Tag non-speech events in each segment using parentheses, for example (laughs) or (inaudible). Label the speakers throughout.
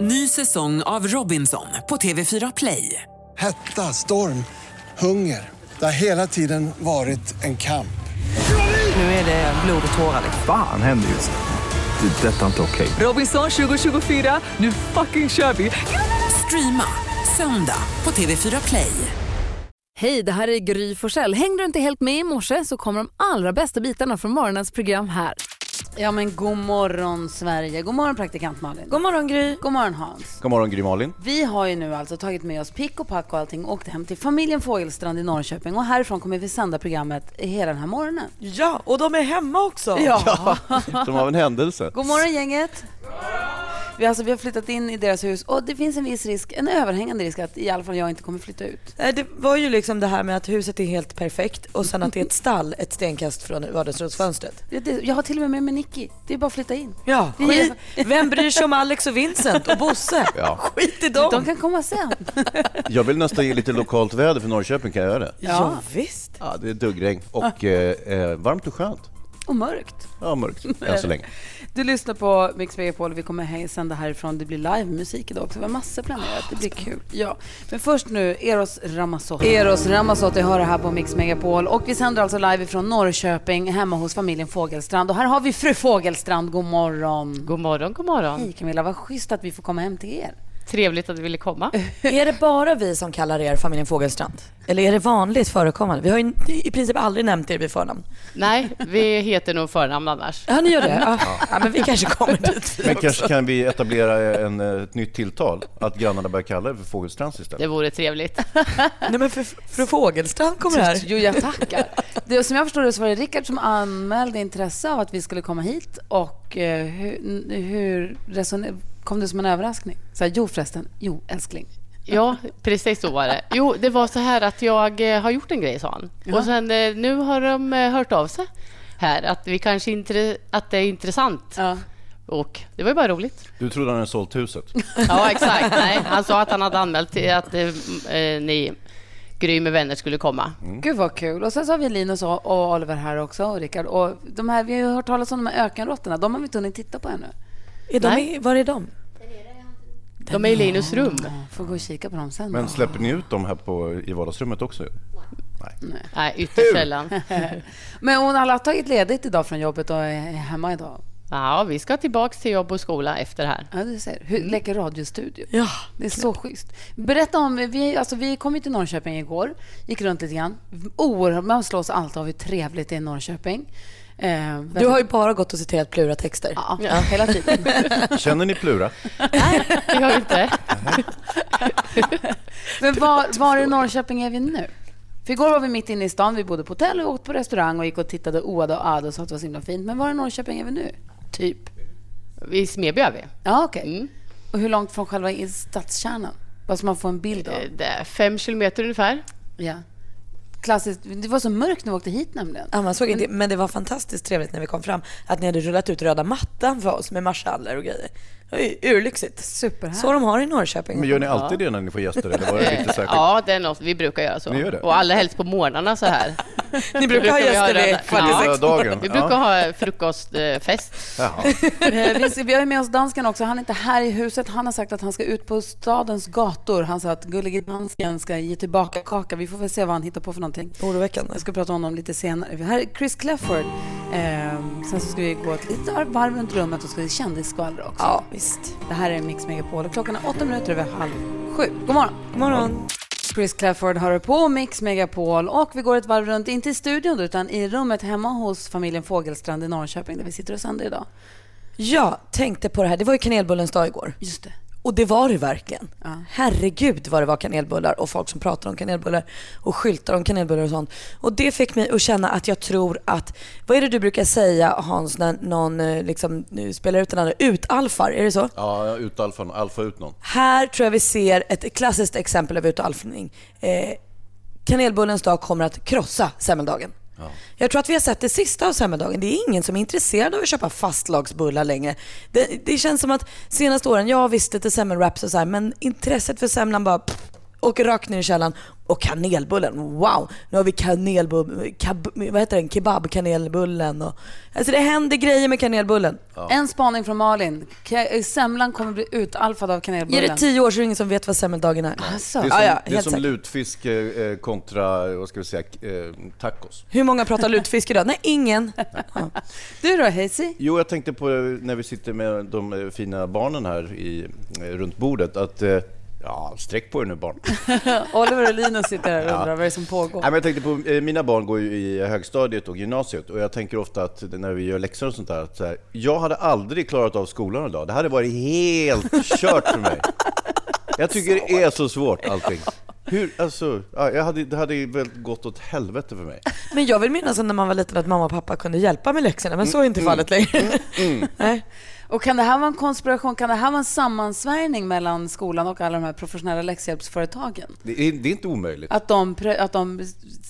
Speaker 1: Ny säsong av Robinson på TV4 Play.
Speaker 2: Hetta, storm, hunger. Det har hela tiden varit en kamp.
Speaker 1: Nu är det blod och tårar.
Speaker 3: Fan händer just nu. Det. är Detta är inte okej.
Speaker 1: Robinson 2024, nu fucking kör vi! Streama söndag på TV4 Play.
Speaker 4: Hej, det här är Gry Forssell. Hängde du inte helt med i morse så kommer de allra bästa bitarna från morgonens program här.
Speaker 5: Ja men god morgon Sverige, god morgon praktikant Malin.
Speaker 4: God morgon Gry.
Speaker 5: God morgon Hans.
Speaker 6: God morgon Gry Malin.
Speaker 5: Vi har ju nu alltså tagit med oss pick och pack och allting och åkt hem till familjen Fogelstrand i Norrköping och härifrån kommer vi sända programmet hela den här morgonen.
Speaker 7: Ja, och de är hemma också.
Speaker 5: Ja.
Speaker 6: Som av en händelse.
Speaker 5: God morgon gänget. Vi, alltså, vi har flyttat in i deras hus och det finns en viss risk, en överhängande risk att i alla fall jag inte kommer flytta ut.
Speaker 7: Nej, Det var ju liksom det här med att huset är helt perfekt och sen att det är ett stall ett stenkast från vardagsrumsfönstret.
Speaker 5: Det- det- Jag har till och med med mig Nicky, det är bara att flytta in.
Speaker 7: Ja, skit. Vem bryr sig om Alex och Vincent och Bosse?
Speaker 6: Ja.
Speaker 7: Skit i
Speaker 5: De
Speaker 7: dem.
Speaker 5: kan komma sen.
Speaker 6: Jag vill nästan ge lite lokalt väder för Norrköping, kan jag göra det?
Speaker 7: Ja, visst.
Speaker 6: Ja, det är duggregn och eh, eh, varmt och skönt.
Speaker 5: Och mörkt.
Speaker 6: Ja, (laughs) mörkt än så länge.
Speaker 5: Du lyssnar på Mix Megapol och vi kommer hej- sända härifrån. Det blir livemusik idag också. Vi har massor planerat. Det blir kul. Ja. Men först nu, Eros Ramazzotti. Eros Ramazzotti hör det här på Mix Megapol. Och vi sänder alltså live ifrån Norrköping, hemma hos familjen Fågelstrand. Och här har vi fru Fågelstrand. God morgon.
Speaker 8: God morgon, god morgon.
Speaker 5: Hej Camilla, vad schysst att vi får komma hem till er.
Speaker 8: Trevligt att du ville komma.
Speaker 7: Är det bara vi som kallar er familjen Fogelstrand? Eller är det vanligt förekommande? Vi har ju i princip aldrig nämnt er vid förnamn.
Speaker 8: Nej, vi heter nog förnamn annars.
Speaker 7: Ja, ni gör det? Ja. ja, men vi kanske kommer dit. vi
Speaker 6: Men
Speaker 7: också.
Speaker 6: kanske kan vi etablera en, eh, ett nytt tilltal, att grannarna börjar kalla det för Fågelstrands
Speaker 8: Det
Speaker 6: istället.
Speaker 8: vore trevligt.
Speaker 7: Nej, men för, fru Fogelstrand kommer här.
Speaker 5: Jo, jag tackar. Det, som jag förstår det så var det Rickard som anmälde intresse av att vi skulle komma hit. Och eh, hur, n- hur resoner- kom det som en överraskning? Så här, jo förresten, jo älskling.
Speaker 8: Ja, precis så var det. Jo, det var så här att jag eh, har gjort en grej, sa han. Och sen eh, nu har de eh, hört av sig här att, vi kanske intre- att det är intressant.
Speaker 5: Ja.
Speaker 8: Och det var ju bara roligt.
Speaker 6: Du trodde han hade sålt huset.
Speaker 8: Ja, exakt. Nej, han sa att han hade anmält till att eh, eh, ni, Gry med vänner, skulle komma.
Speaker 7: Mm.
Speaker 5: Gud vad kul. Och sen så har vi Linus och och Oliver här också och Rickard. Och de här, vi har ju hört talas om de här ökenråttorna. De har vi inte hunnit titta på ännu.
Speaker 7: Är de,
Speaker 8: Nej.
Speaker 7: i- var är de?
Speaker 8: De är i Linus rum.
Speaker 7: Mm.
Speaker 5: Får gå och kika på dem sen.
Speaker 6: Men
Speaker 5: då. (laughs)
Speaker 6: släpper ni ut dem här på, i vardagsrummet också?
Speaker 8: Nej, ytterst sällan.
Speaker 5: Men hon alla har tagit ledigt idag från jobbet och är hemma idag.
Speaker 8: Ja, vi ska tillbaks till jobb och skola efter här.
Speaker 5: Ja, du ser. Hur, Leker radiostudio.
Speaker 7: Ja,
Speaker 5: Det är så schysst. Berätta om, vi, alltså, vi kom ju till Norrköping igår, gick runt lite grann. Oerhört, man slås alltid av hur trevligt det är i Norrköping. Eh,
Speaker 7: Du har ju bara gått och citerat Plura-texter.
Speaker 5: ja, hela tiden.
Speaker 6: Känner ni Plura?
Speaker 8: Det gör vi inte.
Speaker 5: Men var, var i Norrköping är vi nu? För igår var vi mitt inne i stan, vi bodde på hotell och åt på restaurang och gick och tittade oade och ade och sa att det var så himla fint. Men var i Norrköping är vi nu? Typ.
Speaker 8: I Smeby är vi.
Speaker 5: Ja, okej.
Speaker 8: Mm.
Speaker 5: Och hur långt från själva i- stadskärnan? Bara så man får en bild av.
Speaker 8: Eh, Det är fem kilometer ungefär.
Speaker 5: Ja. Klassiskt. Det var så mörkt när vi åkte hit nämligen.
Speaker 7: Ja, man såg inte,
Speaker 5: Mm.
Speaker 7: men det var fantastiskt trevligt när vi kom fram att ni hade rullat ut röda mattan för oss med marschaller och grejer. Det var ju urlyxigt.
Speaker 5: Superhärligt.
Speaker 7: Så de har i Norrköping.
Speaker 6: Men gör ni alltid det när ni får gäster? Eller var det lite särskilt?
Speaker 8: Eh, Ja, det är något vi brukar göra så.
Speaker 6: Ni gör det?
Speaker 8: Och allra helst på morgnarna så
Speaker 9: (laughs)
Speaker 8: här.
Speaker 7: ni brukar ha
Speaker 8: vi
Speaker 7: gäster
Speaker 8: ha
Speaker 7: i
Speaker 8: röda-
Speaker 7: kvart i
Speaker 6: Ja,
Speaker 7: sex.
Speaker 6: dagen.
Speaker 8: (laughs) Vi brukar
Speaker 6: Ja.
Speaker 8: ha eh, frukostfest.
Speaker 9: (laughs)
Speaker 6: Jaha.
Speaker 5: Eh, Vi, ser- vi har ju med oss dansken också. Han är inte här i huset. Han har sagt att han ska ut på stadens gator. Han sa att gullige dansken ska ge tillbaka kaka. Vi får väl se vad han hittar på för någonting.
Speaker 7: Oroväckande.
Speaker 5: Jag ska prata om honom lite senare. Vi- Här är Chris Clefford. Eh, sen så ska vi gå ett litet varv runt rummet och ska vi kändisskvallra också.
Speaker 7: Ja, visst.
Speaker 5: Det här är Mix Megapol och klockan är åtta minuter över halv sju. God morgon!
Speaker 7: God morgon.
Speaker 5: Chris Clafford hör på Mix Megapol och vi går ett varv runt, inte i studion då, utan i rummet hemma hos familjen Fågelstrand i Norrköping där vi sitter och sänder idag.
Speaker 7: Jag tänkte på det här. Det var ju kanelbullens dag igår.
Speaker 5: Just det.
Speaker 7: Och det var det verkligen. Herregud vad det var kanelbullar och folk som pratade om kanelbullar och skyltar om kanelbullar och sånt. Och det fick mig att känna att jag tror att, vad är det du brukar säga Hans när någon eh, liksom, nu spelar ut den andra? Utalfar, är det så?
Speaker 6: Ja, ut alfa, alfa ut någon.
Speaker 7: Här tror jag vi ser ett klassiskt exempel av utalfning. Eh, kanelbullens dag kommer att krossa semmeldagen. Jag tror att vi har sett det sista av semmeldagen. Det är ingen som är intresserad av att köpa fastlagsbullar längre. Det, det känns som att senaste åren, jag visste till semmelwraps och så här, men intresset för semlan bara pff, åker rakt ner i källaren och kanelbullen, wow! Nu har vi kanelbullen, vad heter den? Kebabkanelbullen och... Alltså det händer grejer med kanelbullen.
Speaker 5: En spaning från Malin. Ke- Semlan kommer bli utalfad av
Speaker 7: Ger
Speaker 5: kanelbullen.
Speaker 7: det tio år så är det ingen som vet vad semmeldagen är.
Speaker 5: Alltså.
Speaker 6: Det är som,
Speaker 7: Ja, ja,
Speaker 6: det är
Speaker 7: helt
Speaker 6: som
Speaker 7: säkert.
Speaker 6: lutfisk eh, eh, kontra, vad ska vi säga, eh, tacos.
Speaker 7: Hur många pratar lutfisk idag? Nej, ingen. Ja.
Speaker 5: Du då Hazy?
Speaker 6: Jo, jag tänkte på eh, när vi sitter med de eh, fina barnen här i, eh, runt bordet att eh, Ja, sträck på er nu barn.
Speaker 5: Oliver och Linus sitter här och undrar vad det är som
Speaker 6: Nej,
Speaker 5: pågår.
Speaker 6: men jag tänkte på, eh, mina barn går ju i högstadiet och gymnasiet och jag tänker ofta att när vi gör läxor och sånt där, att så här, jag hade aldrig klarat av skolan idag. Det hade varit helt kört för mig. Jag tycker det är så svårt allting. Hur, alltså, ja, jag hade, det hade väl gått åt helvete för mig.
Speaker 7: Men jag vill minnas när man var liten att mamma och pappa kunde hjälpa med läxorna, men så är inte fallet längre. (laughs) Nej.
Speaker 5: Och kan det här vara en konspiration? Kan det här vara en sammansvärjning mellan skolan och alla de här professionella läxhjälpsföretagen?
Speaker 6: Det är, det är inte omöjligt.
Speaker 5: Att de, prö- att de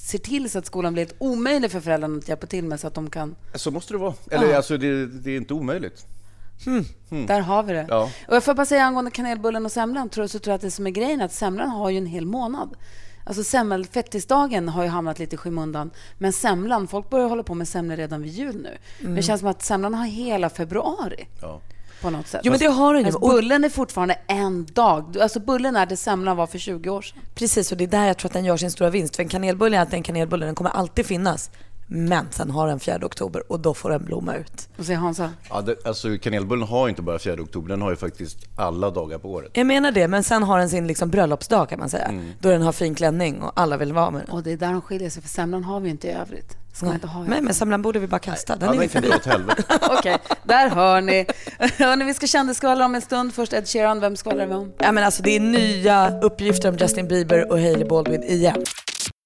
Speaker 5: ser till så att skolan blir helt omöjlig för föräldrarna att hjälpa till med så att de kan...
Speaker 6: Så måste det vara. Eller alltså, det, det är inte omöjligt.
Speaker 5: Där har vi det.
Speaker 6: Ja.
Speaker 5: Och jag får bara säga angående kanelbullen och semlan, tror, så tror jag att det som är grejen är att semlan har ju en hel månad. Alltså semmelfettisdagen har ju hamnat lite i skymundan. Men semlan, folk börjar hålla på med semlor redan vid jul nu. Men
Speaker 7: Mm.
Speaker 5: det känns som att semlan har hela februari
Speaker 6: Ja.
Speaker 5: på något sätt.
Speaker 7: Jo men det har den ju.
Speaker 5: Alltså,
Speaker 7: Och,
Speaker 5: bullen är fortfarande en dag. Du- Alltså bullen är det semlan var för 20 år sedan.
Speaker 7: precis, och det är där jag tror att den gör sin stora vinst. För en kanelbulle är alltid en kanelbulle, den kommer alltid finnas. Men sen har den 4 oktober och då får den blomma ut.
Speaker 5: Och så är Hansa,
Speaker 6: Ja, det, alltså, kanelbullen har ju inte bara 4 oktober, den har ju faktiskt alla dagar på året.
Speaker 7: Jag menar det, men sen har den sin liksom bröllopsdag kan man säga. Då den har fin klänning och alla vill vara med den.
Speaker 5: och det är där de skiljer sig, för semlan har vi ju inte i övrigt. (laughs) Ska man inte ha i
Speaker 7: Nej men semlan borde vi bara kasta, den
Speaker 6: Ja,
Speaker 7: är ju
Speaker 6: den kan
Speaker 7: förbi.
Speaker 6: dra åt helvete.
Speaker 5: Okej, där hör ni. (laughs) Hörni, vi ska kändisskvallra om en stund. Först Ed Sheeran, vem skvallrar vi om?
Speaker 7: Ja, men alltså, det är nya uppgifter om Justin Bieber och Hailey Baldwin igen.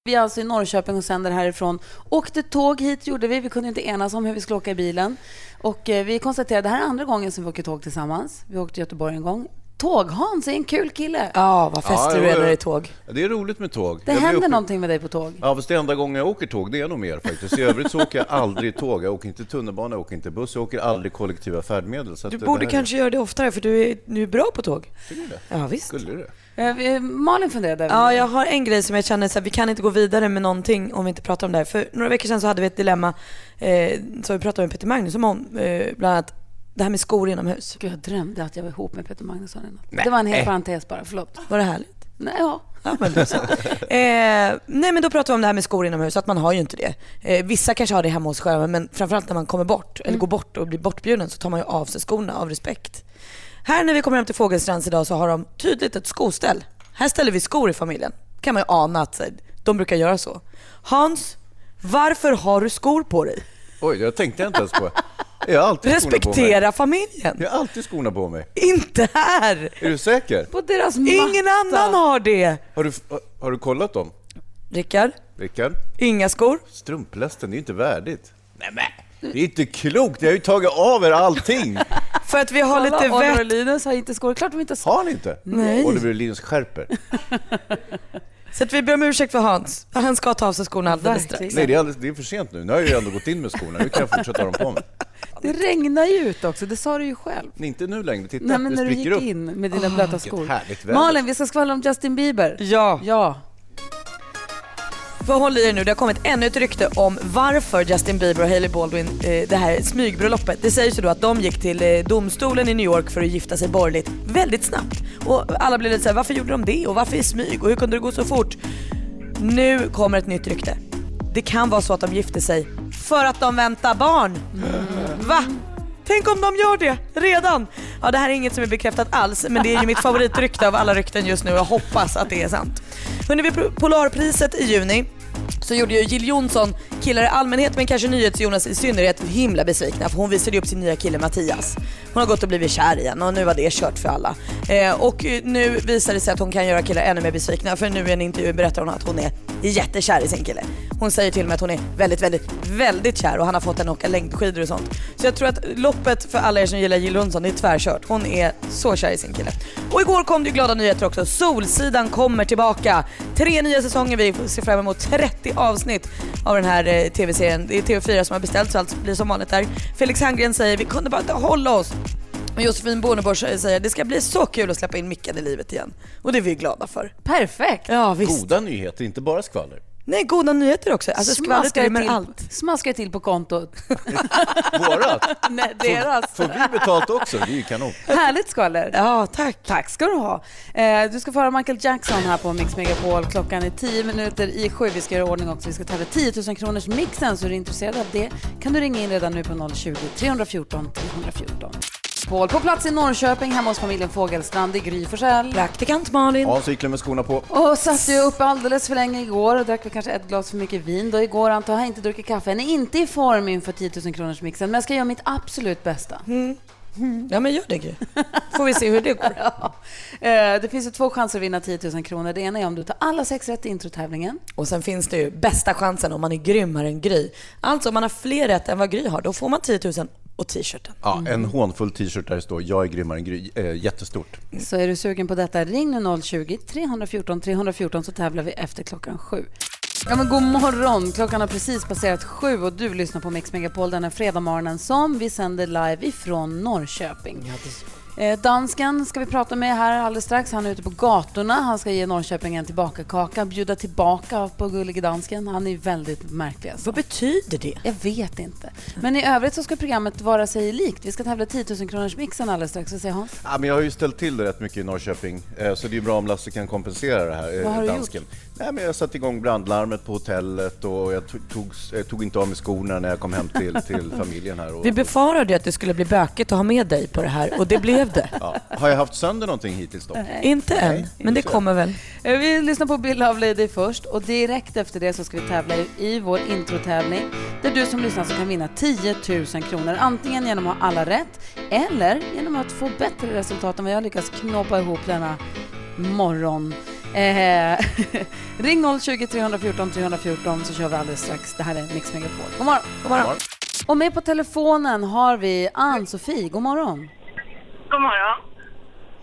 Speaker 5: Vi är alltså i Norrköping och sänder härifrån. Åkte tåg hit gjorde vi. Vi kunde inte enas om hur vi skulle åka i bilen. Och eh, vi konstaterade, det här är andra gången som vi åker tåg tillsammans. Vi åkte till Göteborg en gång. Tåg-Hans är en kul kille.
Speaker 7: Ja, vad fester du
Speaker 6: Ja,
Speaker 7: är när
Speaker 6: jo,
Speaker 7: det är
Speaker 6: jo.
Speaker 7: tåg.
Speaker 6: Det är roligt med tåg.
Speaker 5: Det
Speaker 6: Jag blir
Speaker 5: händer
Speaker 6: uppe-
Speaker 5: någonting med dig på tåg.
Speaker 6: Ja, fast det är enda gången jag åker tåg, det är nog mer faktiskt. I övrigt så åker jag aldrig tåg. Jag åker inte tunnelbana, jag åker inte buss, jag åker aldrig kollektiva färdmedel. Så
Speaker 7: Du
Speaker 6: att det
Speaker 7: borde
Speaker 6: här är-
Speaker 7: kanske göra det oftare för du är, du är bra på tåg. Ja, visst.
Speaker 6: Skulle du det?
Speaker 5: Eh, vi- Malin funderade över
Speaker 7: Ja,
Speaker 5: det.
Speaker 7: jag har en grej som jag känner så här, vi kan inte gå vidare med någonting om vi inte pratar om det här. För några veckor sedan så hade vi ett dilemma eh, som vi pratade med Peter Magnusson om, eh, bland annat det här med skor inomhus.
Speaker 5: Gud, jag drömde att jag var ihop med Peter Magnusson i natt. Det var en hel parentes bara, förlåt.
Speaker 7: Var det härligt?
Speaker 5: Nej, ja.
Speaker 7: Ja, men då så.
Speaker 6: (laughs)
Speaker 7: Eh, nej men då pratar vi om det här med skor inomhus, att man har ju inte det. Eh, vissa kanske har det hemma hos själva men framförallt när man kommer bort
Speaker 6: Mm.
Speaker 7: eller går bort och blir bortbjuden så tar man ju av sig skorna av respekt. Här när vi kommer hem till Fågelstrands idag så har de tydligt ett skoställ. Här ställer vi skor i familjen. kan man ju ana att så här, de brukar göra så. Hans, varför har du skor på dig?
Speaker 6: Oj, jag tänkte jag inte ens på. Jag har alltid skorna på mig.
Speaker 7: Respektera familjen.
Speaker 6: Jag har alltid skorna på mig.
Speaker 7: Inte här.
Speaker 6: Är du säker?
Speaker 5: På deras
Speaker 7: Ingen
Speaker 5: matta.
Speaker 7: annan har det.
Speaker 6: Har du, har du kollat dem?
Speaker 7: Rickard,
Speaker 6: Rickard?
Speaker 7: inga skor.
Speaker 6: Strumplästen, det är ju inte värdigt. Nej, men. Det är inte klokt, ni har ju tagit av er allting.
Speaker 7: För att vi har lite
Speaker 5: Oliver
Speaker 7: vett
Speaker 5: och Linus har inte skor. Klart de inte har skor.
Speaker 6: Har ni inte? Nej. Oliver och Linus skärper.
Speaker 7: Så att vi ber om ursäkt för Hans. Han ska ta av sig skorna alldeles strax.
Speaker 5: Verkligen.
Speaker 6: Nej, det är, alldeles, det är för sent nu. Nu har jag ju ändå gått in med skorna. Nu kan jag fortsätta ha dem på mig.
Speaker 5: Det regnar ju ut också, det sa du ju själv.
Speaker 6: Nej, Inte nu längre. Titta,
Speaker 5: Nej, men
Speaker 6: det
Speaker 5: när du
Speaker 6: spricker
Speaker 5: gick
Speaker 6: upp. Ah,
Speaker 5: in med dina blöta skor.
Speaker 6: härligt väder.
Speaker 5: Malin, vi ska skvallra om Justin Bieber.
Speaker 7: Ja.
Speaker 5: Ja.
Speaker 7: För håll i er nu, det har kommit ännu ett rykte om varför Justin Bieber och Hailey Baldwin, eh, det här smygbröllopet. Det sägs ju då att de gick till eh, domstolen i New York för att gifta sig borgerligt väldigt snabbt. Och alla blev lite såhär, varför gjorde de det? Och varför i smyg? Och hur kunde det gå så fort? Nu kommer ett nytt rykte. Det kan vara så att de gifte sig för att de väntar barn. Va? Tänk om de gör det redan? Ja, det här är inget som är bekräftat alls, men det är ju mitt favoritrykte av alla rykten just nu och jag hoppas att det är sant. Hörrni, vid Polarpriset i juni så gjorde ju Jill Johnson killar i allmänhet men kanske NyhetsJonas i synnerhet himla besvikna för hon visade ju upp sin nya kille Mattias. Hon har gått och blivit kär igen och nu var det kört för alla. Eh, och eh, nu visar det sig att hon kan göra killar ännu mer besvikna för nu i en intervju berättar hon att hon är jättekär i sin kille. Hon säger till och med att hon är väldigt, väldigt, väldigt kär och han har fått henne att åka längdskidor och sånt. Så jag tror att loppet för alla er som gillar Jill Johnson, det är tvärkört. Hon är så kär i sin kille. Och igår kom det ju glada nyheter också. Solsidan kommer tillbaka. Tre nya säsonger, vi ser fram emot 30 avsnitt av den här eh, tv-serien. Det är TV4 som har beställt så allt blir som vanligt där. Felix Herngren säger vi kunde bara inte hålla oss. Och Josefin Borneborg säger det ska bli så kul att släppa in Mickan i livet igen. Och det är vi glada för.
Speaker 4: Perfekt.
Speaker 7: Ja visst.
Speaker 6: Goda nyheter, inte bara skvaller.
Speaker 7: Nej, goda nyheter också. Alltså skvallret
Speaker 5: Smaskar
Speaker 7: rymmer
Speaker 5: till,
Speaker 7: allt.
Speaker 5: Smaskar till på
Speaker 7: (laughs)
Speaker 5: kontot.
Speaker 6: Vårat!
Speaker 5: (laughs) Nej, deras.
Speaker 6: Får vi betalt också? Det är ju kanon.
Speaker 5: (laughs) Härligt skvaller.
Speaker 7: alltså. Ja, tack.
Speaker 5: Tack ska du ha. Eh, du ska få höra Michael Jackson här på Mix Megapol. Klockan är 10 minuter i sju. Vi ska göra ordning också. Vi ska tävla 10 000 kronors mixen. Så är du intresserad av det kan du ringa in redan nu på 020-314 314. Paul på plats i Norrköping hemma hos familjen Fogelstrand. Det är Gry Forssell.
Speaker 7: Praktikant Malin.
Speaker 6: Hans cyklar med skorna på.
Speaker 5: Och satt ju uppe alldeles för länge igår och drack väl kanske ett glas för mycket vin då igår. Antar jag har inte druckit kaffe. Än är inte i form inför 10 000 kronors mixen. Men jag ska göra mitt absolut bästa.
Speaker 7: Ja men gör det Gry. Får vi se hur det (laughs) går.
Speaker 5: (laughs) Ja. Eh, Det finns ju två chanser att vinna 10 000 kronor. Det ena är om du tar alla sex rätt i introtävlingen.
Speaker 7: Och sen finns det ju bästa chansen om man är grymmare än Gry. Alltså om man har fler rätt än vad Gry har, då får man 10 000 och t-shirten.
Speaker 6: Ja, en hånfull t-shirt där det står “Jag är grymmare än Gry”. Eh, jättestort.
Speaker 5: Så är du sugen på detta, ring nu 020-314 314 så tävlar vi efter klockan sju. Ja, men god morgon! Klockan har precis passerat sju och du lyssnar på Mix Megapol den här fredagmorgonen som vi sänder live ifrån Norrköping. Eh, dansken ska vi prata med här alldeles strax. Han är ute på gatorna. Han ska ge Norrköping en tillbakakaka, bjuda tillbaka på gullige dansken. Han är väldigt märklig. alltså.
Speaker 7: Vad betyder det?
Speaker 5: Jag vet inte. Men i övrigt så ska programmet vara sig likt. Vi ska tävla 10 000 kronors mixen alldeles strax. Vad säger Hans?
Speaker 6: Ja, men jag har ju ställt till det rätt mycket i Norrköping, eh, så det är ju bra om Lasse kan kompensera det här. eh,
Speaker 5: Vad har du
Speaker 6: Nej, men jag satte igång brandlarmet på hotellet och jag to- tog, jag tog inte av mig skorna när jag kom hem till, till familjen här. Och,
Speaker 7: Vi befarade ju att det skulle bli bökigt att ha med dig på det här och det blev (laughs) det.
Speaker 6: ja. Har jag haft sönder någonting hittills då?
Speaker 7: Inte än, men det kommer väl.
Speaker 5: Eh, Vi lyssnar på Bill of Lady först och direkt efter det så ska vi tävla i- i vår introtävling där du som lyssnar så kan vinna 10 000 kronor antingen genom att ha alla rätt eller genom att få bättre resultat än vad jag lyckas knåpa ihop denna morgon. Eh, (laughs) ring 020 314 314 så kör vi alldeles strax. Det här är Mix Megapol. God morgon! God morgon. Och med på telefonen har vi Ann-Sofie. God morgon!
Speaker 10: God morgon.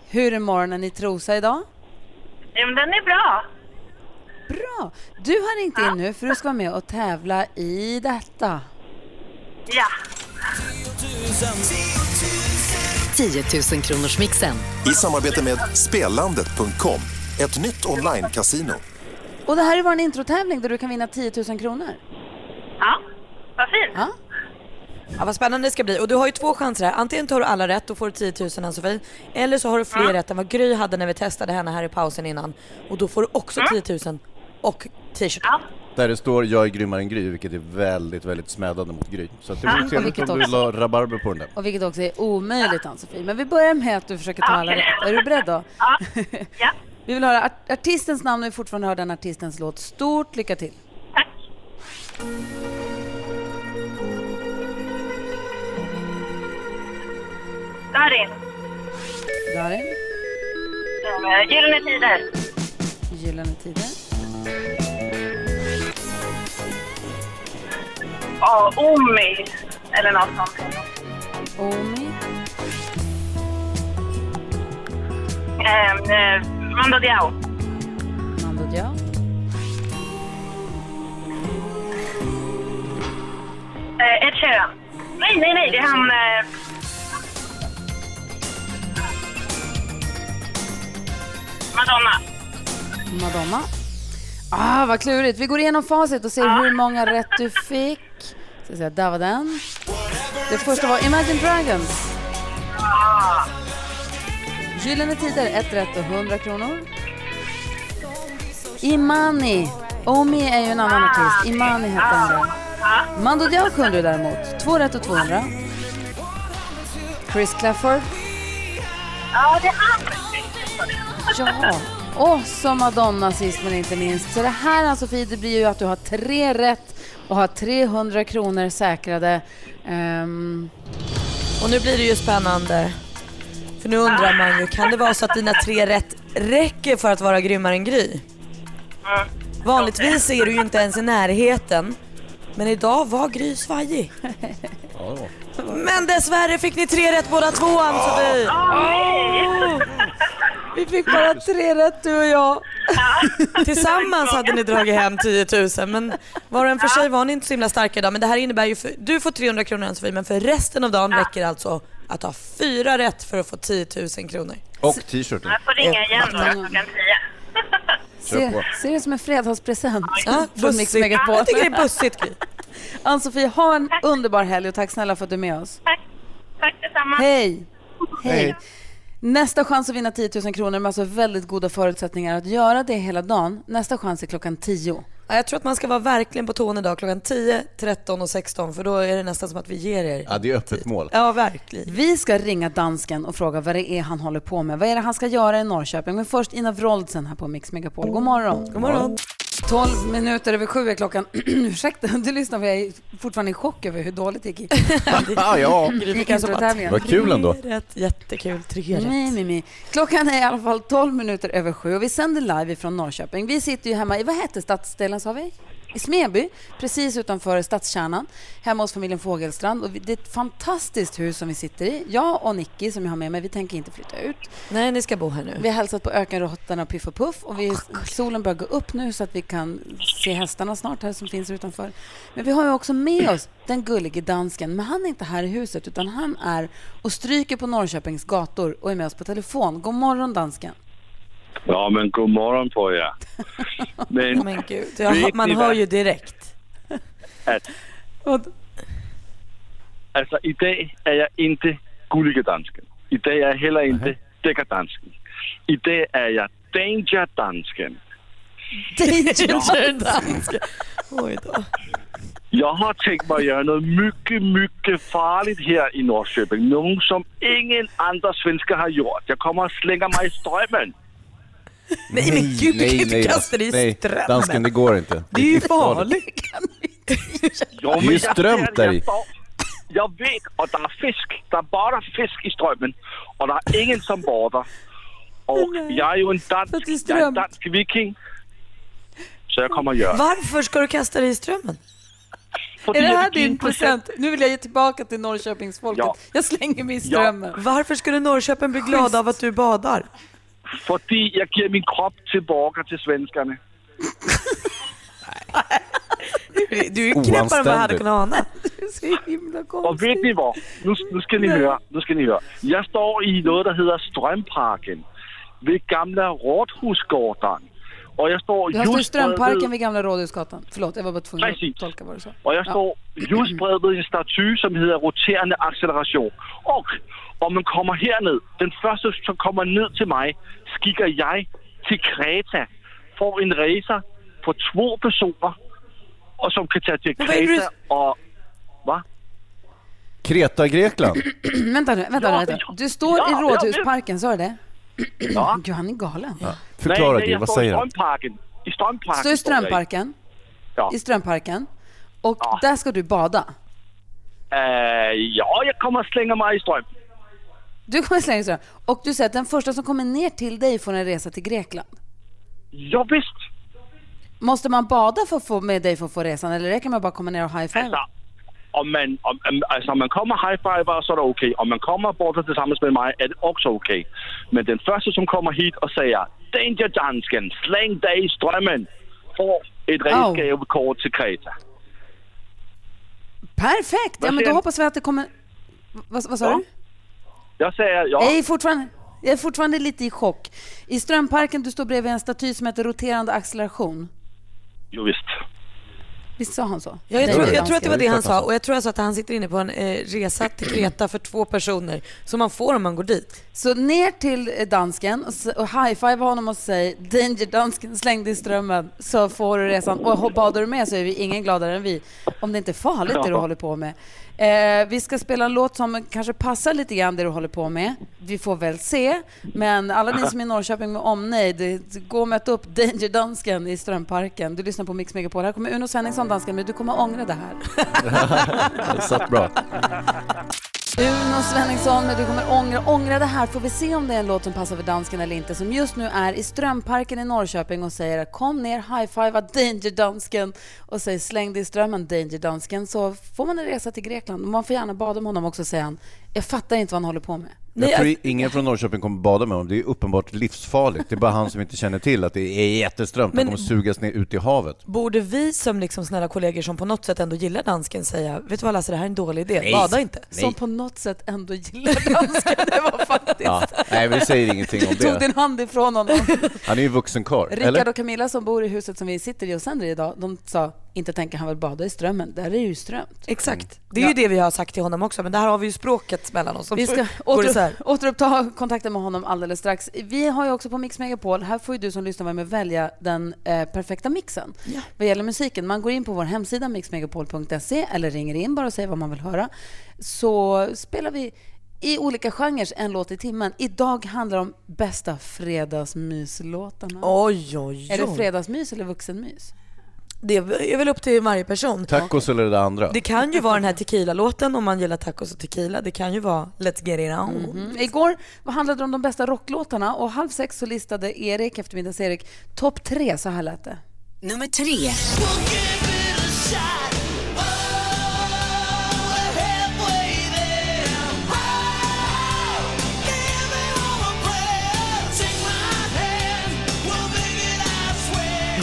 Speaker 5: Hur är morgonen i Trosa idag?
Speaker 10: Ja, men den är bra.
Speaker 5: Bra! Du har ringt in nu för du ska vara med och tävla i detta.
Speaker 10: Ja.
Speaker 11: 10 000 kronors mixen.
Speaker 12: I samarbete med Spelandet.com, ett nytt online-casino.
Speaker 5: Och det här är vår introtävling där du kan vinna 10 000 kronor.
Speaker 10: Ja. Vad fint.
Speaker 5: Ja.
Speaker 7: Ja, vad spännande det ska bli. Och du har ju två chanser här. Antingen tar du alla rätt, då får du 10 000 Ann-Sofie. Eller så har du fler rätt än vad Gry hade när vi testade henne här i pausen innan. Och då får du också 10 000 och t-shirten.
Speaker 6: Där det står “Jag är grymmare än Gry”, vilket är väldigt, väldigt smädande mot Gry. Så att det
Speaker 7: Ah,
Speaker 6: vore trevligt
Speaker 5: vilket
Speaker 6: om du
Speaker 5: också.
Speaker 6: la rabarber på den där.
Speaker 5: Och vilket också är omöjligt, Ann-Sofie. Men vi börjar med att du försöker ta alla
Speaker 10: Okej.
Speaker 5: rätt. Är du beredd då? (laughs)
Speaker 10: Ja. ja.
Speaker 5: Vi vill höra art- artistens namn och vi fortfarande hör den artistens låt. Stort lycka till!
Speaker 10: Tack. Darin.
Speaker 5: Darin,
Speaker 10: Eh, Gyllene Tider.
Speaker 5: Gyllene Tider.
Speaker 10: Ja, Omi. Eller något sånt.
Speaker 5: Omi,
Speaker 10: Ehm, eh, Mando Diao.
Speaker 5: Mando Diao,
Speaker 10: Eh, Ed Sheeran. Nej, nej, nej. Det är han... Eh... Madonna.
Speaker 5: Madonna. Ah, vad klurigt. Vi går igenom facit och ser hur många rätt du fick. Ska säga, där var den. Det första var Imagine Dragons.
Speaker 10: Ah.
Speaker 5: Gyllene Tider, ett rätt och 100 kronor. Imani. Omi är ju en annan artist. Imani hette han då. Mando Diao kunde du däremot. Två rätt och 200. Chris Clafford.
Speaker 10: Ja, det är han.
Speaker 5: Ja. Och så Madonna sist men inte minst. Så det här Ann-Sofie, det blir ju att du har tre rätt och har 300 kronor säkrade. Ehm,
Speaker 7: Och nu blir det ju spännande. För nu undrar man ju, kan det vara så att dina tre rätt räcker för att vara grymmare än Gry? Vanligtvis är du ju inte ens i närheten. Men idag var Gry svajig. Men dessvärre fick ni tre rätt båda två Ann-Sofie.
Speaker 5: vi fick bara tre rätt du och jag.
Speaker 7: Tillsammans hade ni dragit hem 10 000 men var och en för sig var ni inte så himla starka idag. Men det här innebär ju, för, du får 300 kronor Ann-Sofie men för resten av dagen räcker alltså att ha fyra rätt för att få 10 000 kronor.
Speaker 6: Och t-shirten.
Speaker 10: Jag får ringa igen då klockan 10.
Speaker 6: Kör på.
Speaker 5: Se, se det som en fredagspresent
Speaker 7: Ja,
Speaker 5: från Mix
Speaker 7: bussigt.
Speaker 5: Megapol.
Speaker 7: Jag tycker det är bussigt, Gry.
Speaker 5: Ann-Sofie, ha en underbar helg och tack snälla för att du är med oss.
Speaker 10: Tack detsamma.
Speaker 5: Hej!
Speaker 6: Hej.
Speaker 5: Nästa chans att vinna 10 000 kronor med alltså väldigt goda förutsättningar att göra det hela dagen. Nästa chans är klockan 10.
Speaker 7: Ja, jag tror att man ska vara verkligen på tårna idag klockan 10, 13 och 16 för då är det nästan som att vi ger er.
Speaker 6: Ja, det är öppet mål.
Speaker 7: Ja, verkligen.
Speaker 5: Vi ska ringa dansken och fråga vad det är han håller på med. Vad är det han ska göra i Norrköping? Men först Ina Wroldsen här på Mix Megapol. God morgon.
Speaker 7: God morgon.
Speaker 5: 12 minuter över sju är klockan. (clears throat) Ursäkta, du lyssnar för jag är fortfarande i chock över hur dåligt (laughs) det gick i
Speaker 6: Ah, ja.
Speaker 5: i
Speaker 7: fick en rabatt.
Speaker 5: introtävlingen.
Speaker 6: Vad kul ändå.
Speaker 7: Tre Rätt, jättekul. Tre
Speaker 5: Nej,
Speaker 7: rätt.
Speaker 5: nej, nej. Klockan är i alla fall 12 minuter över sju och vi sänder live från Norrköping. Vi sitter ju hemma i, vad hette stadsdelen sa vi? I Smeby, precis utanför stadskärnan, hemma hos familjen Fågelstrand. Och vi- det är ett fantastiskt hus som vi sitter i. Jag och Nicky som jag har med mig, vi tänker inte flytta ut.
Speaker 7: Nej, ni ska bo här nu.
Speaker 5: Vi har hälsat på ökenråttorna och Piff och Puff och vi, solen börjar gå upp nu så att vi kan se hästarna snart här som finns utanför. Men vi har ju också med oss den gullige dansken, men han är inte här i huset utan han är och stryker på Norrköpings gator och är med oss på telefon. God morgon dansken!
Speaker 13: Ja, men god morgon på er. Men
Speaker 7: Men gud, jag,
Speaker 13: Vet
Speaker 7: man
Speaker 13: ni
Speaker 7: hör
Speaker 13: vad?
Speaker 7: ju direkt.
Speaker 13: att,
Speaker 5: Och,
Speaker 13: alltså, idag är jag inte gulligedansken. Idag är jag heller inte däckardansken. Idag är jag dangerdansken.
Speaker 7: Danger dansk. Oj då.
Speaker 13: Jag har tänkt mig att göra något mycket, mycket farligt här i Norrköping. Något som ingen andra svenskar har gjort. Jag kommer att slänga mig i strömmen.
Speaker 7: Nej, men gud, du kan
Speaker 6: Nej,
Speaker 7: inte
Speaker 6: nej,
Speaker 7: kasta dig i
Speaker 6: nej. Dansken,
Speaker 7: strömmen.
Speaker 6: det går inte.
Speaker 7: Det är ju
Speaker 6: farligt.
Speaker 7: farligt.
Speaker 13: Jo,
Speaker 6: Det är ju
Speaker 13: men jag
Speaker 6: strömt
Speaker 13: ser det, jag
Speaker 6: där i.
Speaker 13: står- Jag vet, och det är fisk. Det är bara fisk i strömmen. Och det är ingen som badar. Och jag är ju en dansk,
Speaker 5: För att det är
Speaker 13: jag är en
Speaker 5: strömt.
Speaker 13: dansk viking. Så jag kommer att göra.
Speaker 7: Varför ska du kasta dig i strömmen?
Speaker 13: Fordi
Speaker 5: är det
Speaker 13: jeg
Speaker 5: här
Speaker 13: vil give
Speaker 5: din
Speaker 13: en present.
Speaker 5: present? Mm. Nu vill jag ge tillbaka till Norrköpingsfolket.
Speaker 13: Ja.
Speaker 5: Jag slänger mig i
Speaker 13: Ja.
Speaker 5: strömmen.
Speaker 7: Varför skulle Norrköping bli glada av att du badar?
Speaker 13: Fordi jeg giver min krop tilbage til svenskerne.
Speaker 7: Du är ju knäppare än vad jag hade
Speaker 6: Oanständigt.
Speaker 7: kunnat ana.
Speaker 5: Det är så himla
Speaker 13: Og ved
Speaker 5: konstigt.
Speaker 13: ni hvor? Nu, nu skal ni høre. Nu skal ni høre. Jeg står i noget, der hedder Strømparken. Ved gamle Rådhusgården. Og jeg står
Speaker 5: Du har stått i
Speaker 13: just bredvid-
Speaker 5: Strömparken vid Gamla Rådhusgatan. Förlåt, jag var bara tvungen
Speaker 13: Precis.
Speaker 5: att tolka vad du sa.
Speaker 13: Og jeg står just bredvid en statue, som hedder roterende acceleration. Og om man kommer herned, den første, som kommer ned til mig, skikker jeg til Kreta, får en racer på to personer, og som kan tage til
Speaker 7: Men hvad er det, du-
Speaker 13: Kreta og... Hvad?
Speaker 6: Kreta, Grekland.
Speaker 5: Vänta nu, vänta nu.
Speaker 13: Ja,
Speaker 5: Vänta.
Speaker 13: ja,
Speaker 5: Du står
Speaker 13: ja,
Speaker 5: i
Speaker 13: jag
Speaker 5: Rådhusparken, sa du det?
Speaker 13: Ja.
Speaker 5: (clears throat) Gud, han är galen.
Speaker 6: Förklara
Speaker 13: Nej, nej,
Speaker 6: det,
Speaker 13: jeg
Speaker 6: vad
Speaker 13: står i
Speaker 6: säger han?
Speaker 13: Strømparken. I Strømparken.
Speaker 5: Står i
Speaker 13: står jeg i.
Speaker 5: Strömparken,
Speaker 13: Ja.
Speaker 5: i Strömparken och
Speaker 13: Ja.
Speaker 5: där ska du bada.
Speaker 13: Øh, ja, jeg kommer og slænger mig i strøm.
Speaker 5: Du kommer slänga dig och du säger att den första som kommer ner till dig får en resa till Grekland.
Speaker 13: Jo, vist.
Speaker 5: Måste man bada för att få med dig för att få resan eller räcker det med att bara komma ner och
Speaker 13: Altså,
Speaker 5: high-fiva?
Speaker 13: om man, om, om, altså, om man kommer high fiver, så er det okay. Om man kommer og borter til sammen med mig, er det også okay. Men den første, som kommer hit og siger, Danger Dansken, slæng dig i strømmen, får et redskabekort til Kreta.
Speaker 5: Perfekt! Ja,
Speaker 13: Vad
Speaker 5: men då
Speaker 13: sen?
Speaker 5: hoppas vi att det kommer... Vad, vad sa
Speaker 13: Ja.
Speaker 5: du?
Speaker 13: Jeg siger, ja,
Speaker 5: Jag är, fortfarande, jag är fortfarande lite i chock. I Strömparken, du står bredvid en staty som heter Roterande acceleration.
Speaker 13: jo vist.
Speaker 5: Visst sa han så?
Speaker 7: Ja, jag,
Speaker 5: Nej,
Speaker 7: tror,
Speaker 5: det är
Speaker 7: jag tror att det
Speaker 5: dansken.
Speaker 7: var det han sa och jag tror alltså att han sitter inne på en eh, resa till Kreta för två personer som man får om man går dit.
Speaker 5: Så ner till eh, dansken och s- och high-five honom och säg Danger dansken, släng dig i strömmen så får du resan. Och ho- badar du med så är vi ingen gladare än vi. Om det inte är farligt det du
Speaker 13: Ja.
Speaker 5: håller på med. Eh, vi ska spela en låt som kanske passar lite grann det du håller på med. Vi får väl se. Men alla ni som är i Norrköping med omnejd, eh, gå och möt upp Danger dansken i Strömparken. Du lyssnar på Mix Megapol. Här kommer Uno Svenningsson, dansken, men du kommer ångra det här.
Speaker 6: Satt bra.
Speaker 5: Uno Svenningsson med Du kommer ångra, ångra det här. Får vi se om det är en låt som passar för dansken eller inte. Som just nu är i Strömparken i Norrköping och säger kom ner, high-fivea Danger Dansken och säg släng dig i strömmen Danger Dansken så får man en resa till Grekland. Man får gärna bada med honom också säger han. Jag fattar inte vad han håller på med.
Speaker 6: Jag tror ingen från Norrköping kommer bada med honom. Det är uppenbart livsfarligt. Det är bara han som inte känner till att det är jätteströmt. Han
Speaker 7: Men-
Speaker 6: kommer sugas ner ut i havet.
Speaker 7: Borde vi som liksom snälla kollegor som på något sätt ändå gillar dansken säga, vet du vad Lasse, det här är en dålig idé,
Speaker 6: Nej.
Speaker 7: bada inte.
Speaker 6: Nej. Som på
Speaker 5: något sätt ändå gillar dansken. Det var faktiskt...
Speaker 6: (laughs) Ja. Nej, vi
Speaker 7: (laughs)
Speaker 6: säger ingenting om
Speaker 5: (laughs) Du tog
Speaker 6: det.
Speaker 5: din hand ifrån honom.
Speaker 6: Han är ju vuxen karl.
Speaker 5: Rickard
Speaker 6: Eller?
Speaker 5: och Camilla som bor i huset som vi sitter i och sänder i idag, de sa inte tänker han väl bada i strömmen. Där är det ju strömt.
Speaker 7: Exakt. Det är ju det vi har sagt till honom också, men där har vi ju språket mellan oss som
Speaker 5: Vi ska
Speaker 7: går isär.
Speaker 5: åter, återuppta kontakten med honom alldeles strax. Vi har ju också på Mix Megapol, här får ju du som lyssnar vara med och välja den eh, perfekta mixen vad gäller musiken. Man går in på vår hemsida mixmegapol.se eller ringer in bara och säger vad man vill höra. Så spelar vi i olika genrer en låt i timmen. Idag handlar det om bästa fredagsmyslåtarna.
Speaker 7: Oj, oj,
Speaker 5: Är det
Speaker 7: oj.
Speaker 5: fredagsmys eller vuxenmys?
Speaker 7: Det är väl upp till varje person.
Speaker 6: Tacos eller det andra?
Speaker 7: Det kan ju vara den här tequila-låten om man gillar tacos och tequila. Det kan ju vara Let's get it on.
Speaker 5: Mhm. Igår vad handlade det om de bästa rocklåtarna och halv sex så listade Erik, eftermiddags-Erik, topp tre. Så här lät det.
Speaker 11: Nummer tre.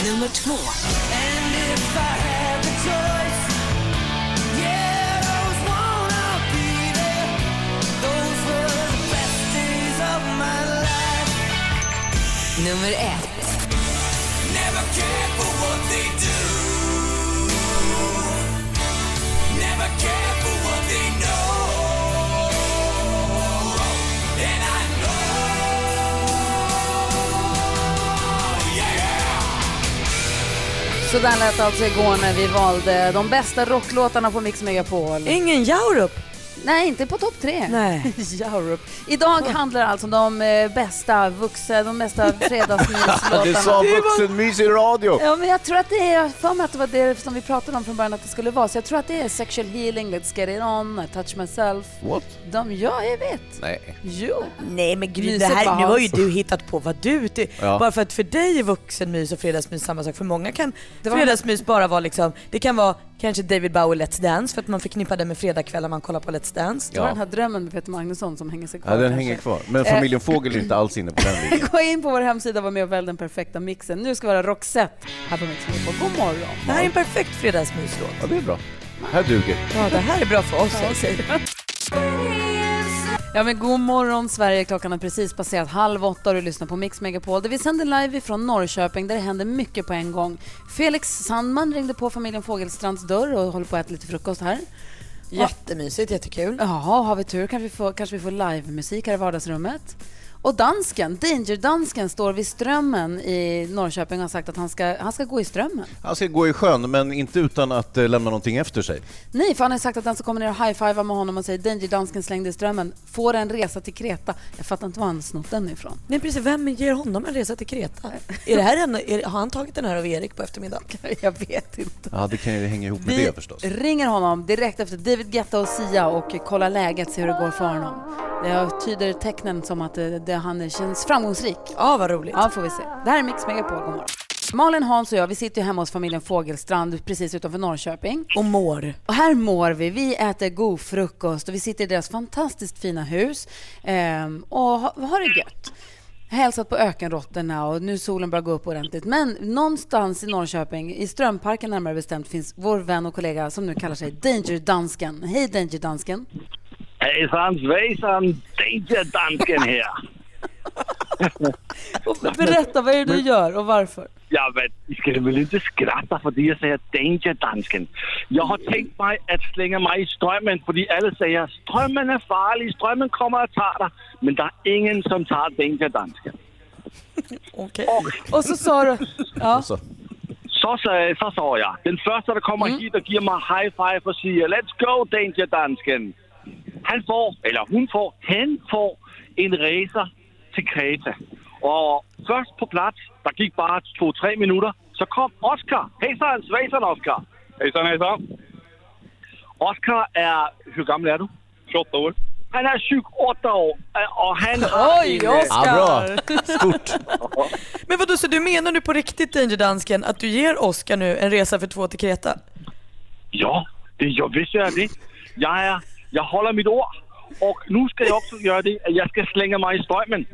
Speaker 11: Nummer två. Nummer ett.
Speaker 5: Så där lät det alltså igår när vi valde de bästa rocklåtarna på Mix Megapol.
Speaker 7: Ingen Jaurup?
Speaker 5: Nej, inte på topp tre. (laughs)
Speaker 7: Nej.
Speaker 5: Jaurup. Idag handlar det alltså om de eh, bästa vuxna, de
Speaker 7: (laughs)
Speaker 5: bästa fredagsmyslåtarna.
Speaker 6: Du sa vuxenmys i radio!
Speaker 5: Ja, men jag tror att det är, jag har för mig att det var det som vi pratade om från början att det skulle vara. Så jag tror att det är sexual healing, let's get it on, I touch myself.
Speaker 6: What?
Speaker 5: De, ja, jag vet.
Speaker 6: Nej.
Speaker 5: Jo.
Speaker 7: Nej men gud, det
Speaker 5: Myset
Speaker 7: här,
Speaker 5: var
Speaker 7: nu har ju
Speaker 5: hans.
Speaker 7: du hittat på vad du... Det,
Speaker 6: Ja.
Speaker 7: Bara för att för dig är vuxenmys och fredagsmys samma sak. För många kan
Speaker 5: Det var-
Speaker 7: fredagsmys bara vara liksom, det kan vara kanske David Bowie Let's Dance för att man förknippar det med fredagkvällar man kollar på Let's Dance.
Speaker 5: Det var den här drömmen med Peter Magnusson som hänger sig kvar.
Speaker 6: Ja, den
Speaker 5: kanske.
Speaker 6: hänger kvar. Men
Speaker 5: Eh,
Speaker 6: familjen Fågel är inte alls inne på den linjen.
Speaker 5: (laughs) Gå in på vår hemsida och var med och välj den perfekta mixen. Nu ska vi höra Roxette här på Mix Megapol. God morgon!
Speaker 7: Det här är en perfekt fredagsmyslåt.
Speaker 6: Ja, det är bra. Här duger.
Speaker 7: Ja, det här är bra för oss. jag säger.
Speaker 5: Ja, men god morgon Sverige. Klockan har precis passerat halv åtta och du lyssnar på Mix Megapol där vi sänder live ifrån Norrköping där det händer mycket på en gång. Felix Sandman ringde på familjen Fågelstrands dörr och håller på att äta lite frukost här.
Speaker 7: Jättemysigt, jättekul.
Speaker 5: Ja, har vi tur kanske vi får, kanske vi får livemusik här i vardagsrummet. Och dansken, Danger-dansken, står vid Strömmen i Norrköping och har sagt att han ska, han ska gå i Strömmen.
Speaker 6: Han ska gå i sjön, men inte utan att eh, lämna någonting efter sig.
Speaker 5: Nej, för han har sagt att den som kommer ner och high-fivar med honom och säger Danger-dansken slängde i Strömmen får en resa till Kreta. Jag fattar inte var han snott den ifrån. (laughs)
Speaker 7: Nej precis, vem ger honom en resa till Kreta? Är det här en, är, har han tagit den här av Erik på eftermiddagen?
Speaker 5: Jag vet inte.
Speaker 6: Ja, det kan ju hänga ihop med
Speaker 5: Vi
Speaker 6: det förstås.
Speaker 5: ringer honom direkt efter David Guetta och Sia och kollar läget, ser hur det går för honom. Det tyder tecknen som att eh, det, han känns framgångsrik.
Speaker 7: Ja, vad roligt.
Speaker 5: Ja, får vi se. Det här är Mix Megapol, god morgon. Malin, Hans och jag, vi sitter ju hemma hos familjen Fågelstrand precis utanför Norrköping.
Speaker 7: Och mår.
Speaker 5: Och här mår vi. Vi äter god frukost och vi sitter i deras fantastiskt fina hus ehm, och ha- har det gött. Hälsat på ökenråttorna och nu solen börjar gå upp ordentligt. Men någonstans i Norrköping, i Strömparken närmare bestämt, finns vår vän och kollega som nu kallar sig Danger Dansken. Hej Danger Dansken!
Speaker 13: Hejsan svejsan, Danger-dansken här.
Speaker 5: Berätta, vad är det du gör och varför?
Speaker 13: Ja, men ni ska väl inte skratta för det jag säger danger-dansken. Jag har tänkt mig att slänga mig i strömmen för alla säger strömmen är farlig, strömmen kommer att ta dig. Men det är ingen som tar danger-dansken.
Speaker 7: Okej.
Speaker 5: Och så sa du... Ja.
Speaker 6: Så.
Speaker 13: Så, så, så sa jag. Den första som
Speaker 7: Mm.
Speaker 13: kommer hit och ger mig high five och säger Let's go danger-dansken. Han får, eller hon får, han får en resa till Kreta. Och först på plats, det gick bara två, tre minuter, så kom Oscar. Hejsan svejsan Oscar! Hejsan hejsan! Oscar är, hur gammal är du? 28 år. Han är 28 år eh, och han har
Speaker 7: Oj,
Speaker 13: en, eh,
Speaker 7: Oscar!
Speaker 6: Stort!
Speaker 7: Men vadå, så du menar nu på riktigt Danger Dansken att du ger Oscar nu en resa för två till Kreta?
Speaker 13: Ja, det, jag visst gör jag det. Jag, är, jag håller mitt ord. Och nu ska jag också göra det, att jag ska slänga mig i strömmen.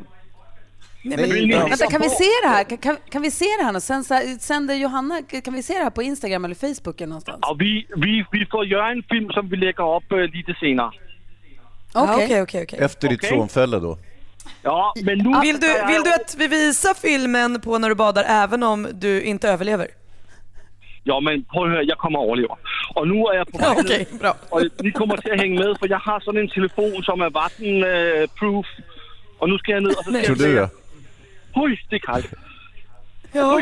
Speaker 13: Vill ni hälsa
Speaker 5: Vänta, kan vi
Speaker 13: på?
Speaker 5: se det här? Kan, kan, kan vi se det här och sen så här, sänder Johanna, kan vi se det här på Instagram eller Facebook eller någonstans?
Speaker 13: Ja, vi, vi, vi får göra en film som vi lägger upp eh, lite senare.
Speaker 7: okej, okej, okej.
Speaker 6: Efter ditt
Speaker 13: Okej.
Speaker 6: frånfälle då.
Speaker 13: Ja, men nu...
Speaker 7: Vill du, vill du att vi visar filmen på när du badar även om du inte överlever?
Speaker 13: Ja, men prøv at høre, jeg kommer og overlever. Og nu er jeg på vej ned,
Speaker 7: Okay, bra.
Speaker 13: og I kommer til at hænge med, for jeg har sådan en telefon, som er vattenproof. Og nu skal jeg ned, og så skal
Speaker 6: Tror
Speaker 13: jeg...
Speaker 6: du ja.
Speaker 13: Hui, det er koldt.
Speaker 7: Ja.
Speaker 13: Det er,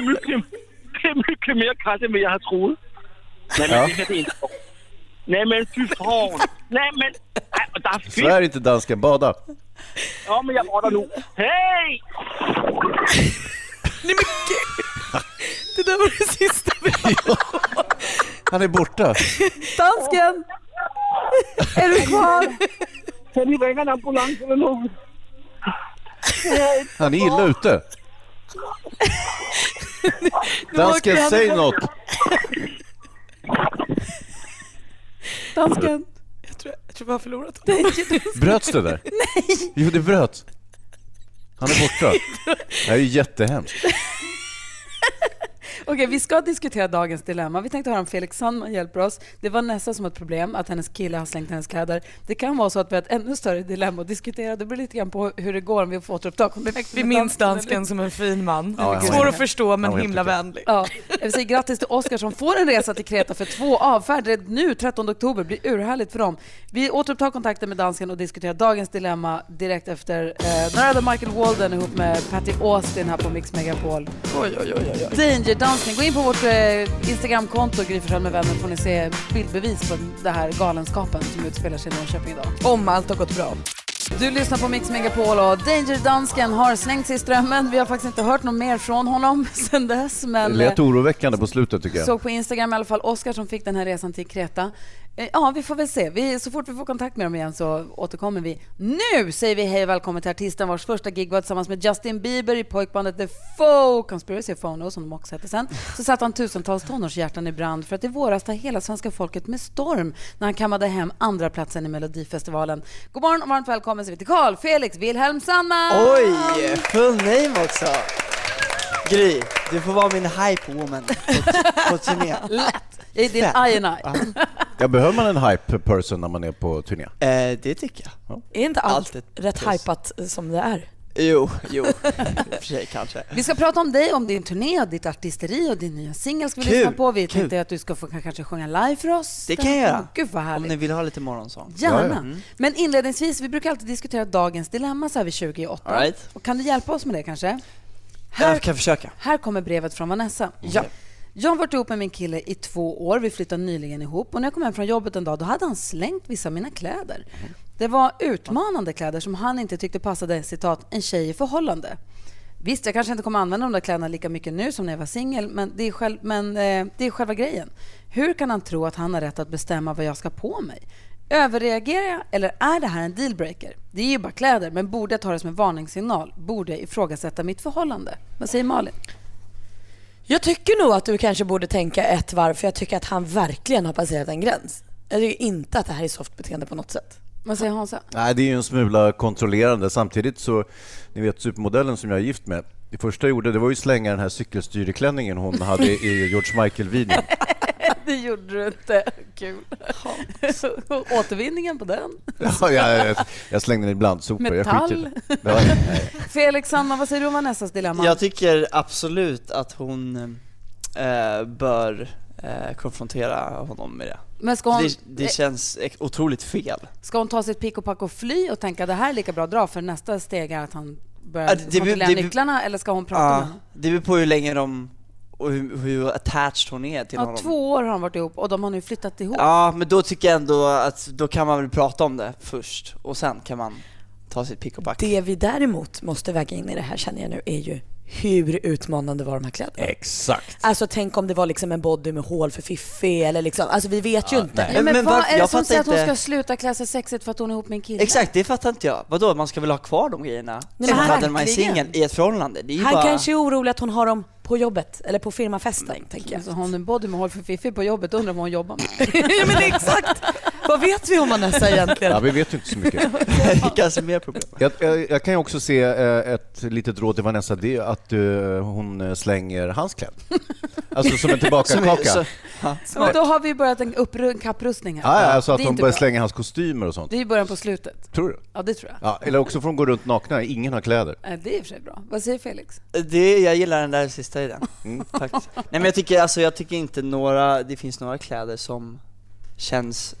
Speaker 13: mycket, det er mycket mere koldt, end hvad jeg har troet. Nej, men
Speaker 6: Ja.
Speaker 13: det her, det er en skov. Nej, men fy fan. Nej, men... Ej, og der er
Speaker 6: I
Speaker 13: fisk.
Speaker 6: Sverige är inte danska bada.
Speaker 13: Ja, men jeg rotter nu. Hey!
Speaker 6: (laughs)
Speaker 7: Det där var det sista vi
Speaker 6: Han är borta.
Speaker 5: (laughs) Dansken!
Speaker 13: Er du kvar? Kan I ringe en ambulance eller noget? Hey.
Speaker 6: Han är
Speaker 5: (laughs)
Speaker 6: illa ute. Dansken, säg något.
Speaker 5: Dansken!
Speaker 7: Jag tror, jag tror vi har förlorat
Speaker 6: Bröts
Speaker 5: (laughs)
Speaker 6: det där? Nej! Jo, det bröts. Han är
Speaker 5: (laughs)
Speaker 6: borta. Det här är ju jättehemskt.
Speaker 5: Okej, vi ska diskutera dagens dilemma. Vi tänkte höra om Felix Sandman hjälper oss. Det var nästan som ett problem att hennes kille har slängt hennes kläder. Det kan vara så att vi har ett ännu större dilemma att diskutera. Det beror lite grann på hur det går om vi får återuppta kontakten
Speaker 7: Vi
Speaker 5: med
Speaker 7: minns dansken som en fin man.
Speaker 6: Ja, ja, ja.
Speaker 7: Svår att förstå
Speaker 6: Ja,
Speaker 7: men
Speaker 6: helt
Speaker 7: himla
Speaker 6: okej.
Speaker 7: vänlig.
Speaker 5: Ja, jag säger grattis till Oskar som får en resa till Kreta för två avfärder nu 13 oktober. blir urhärligt för dem. Vi återupptar kontakten med dansken och diskuterar dagens dilemma direkt efter eh, Narada Michael Walden ihop med Patty Austin här på Mix Megapol.
Speaker 7: Oj, oj, oj, oj, oj.
Speaker 5: Danger Dansken. Gå in på vårt eh, Instagramkonto, Gry Forssell med vänner, får ni se bildbevis på den här galenskapen som utspelar sig i Norrköping idag.
Speaker 7: Om allt har gått bra.
Speaker 5: Du lyssnar på Mix Megapol och Danger Dansken har slängt sig i strömmen. Vi har faktiskt inte hört något mer från honom (laughs) sedan dess.
Speaker 6: Det
Speaker 5: Men,
Speaker 6: lät
Speaker 5: eh,
Speaker 6: oroväckande på slutet tycker jag.
Speaker 5: Såg på Instagram i alla fall Oskar som fick den här resan till Kreta. Eh, Ja, vi får väl se. Vi, så fort vi får kontakt med dem igen så återkommer vi. Nu säger vi hej och välkommen till artisten vars första gig var tillsammans med Justin Bieber i pojkbandet The Foe, Conspiracy Phono som de också hette sen. Så satte han tusentals tonårshjärtan i brand för att i våras ta hela svenska folket med storm när han kammade hem andra platsen i Melodifestivalen. God morgon och varmt välkommen säger vi till Carl Felix Wilhelm Sandman!
Speaker 9: Oj! Full name också! Gry, du får vara min hype woman på, på turné.
Speaker 5: Lätt! Jag är din
Speaker 9: Fett.
Speaker 5: eye and eye.
Speaker 6: Ja, behöver man en hype person när man är på turné?
Speaker 9: Eh, det tycker jag.
Speaker 7: Är inte allt
Speaker 9: Alltid.
Speaker 7: rätt hypat eh, som det är?
Speaker 9: Jo, jo. I och för sig kanske.
Speaker 5: Vi ska prata om dig, om din turné och ditt artisteri och din nya singel ska vi
Speaker 9: Kul,
Speaker 5: lyssna på. Vi
Speaker 9: kul.
Speaker 5: tänkte att du ska få kanske sjunga live för oss.
Speaker 9: Det kan jag göra.
Speaker 5: Gud vad
Speaker 9: Om
Speaker 5: härligt.
Speaker 9: ni vill ha lite morgonsång. Mm.
Speaker 5: Gärna. Men inledningsvis, vi brukar alltid diskutera dagens dilemma så här vid 28.
Speaker 9: All right.
Speaker 5: Och kan du hjälpa oss med det kanske?
Speaker 9: Jag kan försöka.
Speaker 5: Här kommer brevet från Vanessa. Ja. Jag har varit ihop med min kille i två år. Vi flyttade nyligen ihop. Och när jag kom hem från jobbet en dag, då hade han slängt vissa av mina kläder. Det var utmanande kläder som han inte tyckte passade citat, en tjej i förhållande. Visst, jag kanske inte kommer använda de där kläderna lika mycket nu som när jag var singel, men, det är, själv, men eh, det är själva grejen. Hur kan han tro att han har rätt att bestämma vad jag ska på mig? Överreagerar jag eller är det här en dealbreaker? Det är ju bara kläder, men borde jag ta det som en varningssignal? Borde jag ifrågasätta mitt förhållande? Vad säger Malin?
Speaker 7: Jag tycker nog att du kanske borde tänka ett varv för jag tycker att han verkligen har passerat en gräns. Jag tycker inte att det här är soft beteende på något sätt.
Speaker 5: Vad säger Hansa?
Speaker 6: Nej, det är ju en smula kontrollerande. Samtidigt så, ni vet supermodellen som jag är gift med, det första jag gjorde det var ju slänga den här
Speaker 5: (laughs)
Speaker 6: cykelstyreklänningen hon hade i George Michael-videon.
Speaker 5: Det gjorde du inte. Kul. (laughs) Återvinningen på den.
Speaker 6: Ja, jag, jag- jag slängde den ibland sopor. Jag skiter i det. Ja, ja, ja.
Speaker 5: Felix, Sandman, vad säger du om Vanessas dilemma?
Speaker 9: Jag tycker absolut att hon eh, bör eh, konfrontera honom med det.
Speaker 5: Men ska hon- eh,
Speaker 9: det, det känns ek- otroligt fel.
Speaker 5: Ska hon ta sitt pick och pack och fly och tänka det här är lika bra att dra för nästa steg är att han börjar
Speaker 9: Ja, Alltså, det- det-
Speaker 5: kontrollera
Speaker 9: det-
Speaker 5: nycklarna eller ska hon prata
Speaker 9: Ja,
Speaker 5: med honom?
Speaker 9: Det beror på hur länge de och hur, hur attached hon är till
Speaker 5: Ja,
Speaker 9: honom.
Speaker 5: två år har de varit ihop och de har nu flyttat ihop.
Speaker 9: Ja, men då tycker jag ändå att då kan man väl prata om det först och sen kan man ta sitt pick och pack.
Speaker 7: Det vi däremot måste väga in i det här känner jag nu är ju hur utmanande var de här kläderna?
Speaker 9: Exakt.
Speaker 7: Alltså tänk om det var liksom en body med hål för fiffi eller liksom, alltså vi vet ju inte.
Speaker 9: nej.
Speaker 5: Men,
Speaker 9: men
Speaker 5: vad
Speaker 9: varför-
Speaker 5: är det
Speaker 9: jag
Speaker 5: som
Speaker 9: fattar
Speaker 5: säger att hon
Speaker 9: inte-
Speaker 5: ska sluta klä sig sexigt för att hon är ihop med en kille?
Speaker 9: Exakt, det fattar inte jag. Vadå, man ska väl ha kvar de grejerna?
Speaker 7: men
Speaker 9: Nej, som hade
Speaker 7: verkligen.
Speaker 9: man är singel i ett förhållande. Det är ju
Speaker 7: Han
Speaker 9: bara...
Speaker 7: kanske är orolig att hon har dem på jobbet eller på firmafesten tänker jag.
Speaker 5: Alltså, har hon en body med hål för fiffi på jobbet undrar vad hon jobbar med.
Speaker 7: ja men exakt! Vad vet vi om Vanessa egentligen?
Speaker 6: Ja, vi vet ju inte så mycket.
Speaker 14: Kanske mer problem.
Speaker 6: Jag, jag, jag kan ju också se eh, ett litet råd till Vanessa, det är att eh, hon slänger handsklädd. Alltså som en tillbakakaka.
Speaker 14: Som- så-
Speaker 6: ja,
Speaker 5: Men då har vi börjat en, uppru- en kapprustning här.
Speaker 6: ja, alltså att
Speaker 5: det är
Speaker 6: hon
Speaker 5: inte
Speaker 6: börjar
Speaker 5: bra.
Speaker 6: slänga hans kostymer och sånt.
Speaker 5: Det är ju början på slutet.
Speaker 6: Tror du?
Speaker 5: Ja, det tror jag.
Speaker 6: Ja, eller också får hon gå runt nakna, ingen har kläder.
Speaker 5: Eh, Det är i och för sig bra. Vad säger Felix?
Speaker 14: Eh, Det, jag gillar den där sista idén. (laughs) Faktiskt. Nej men jag tycker, alltså, jag tycker inte några, det finns några kläder som känns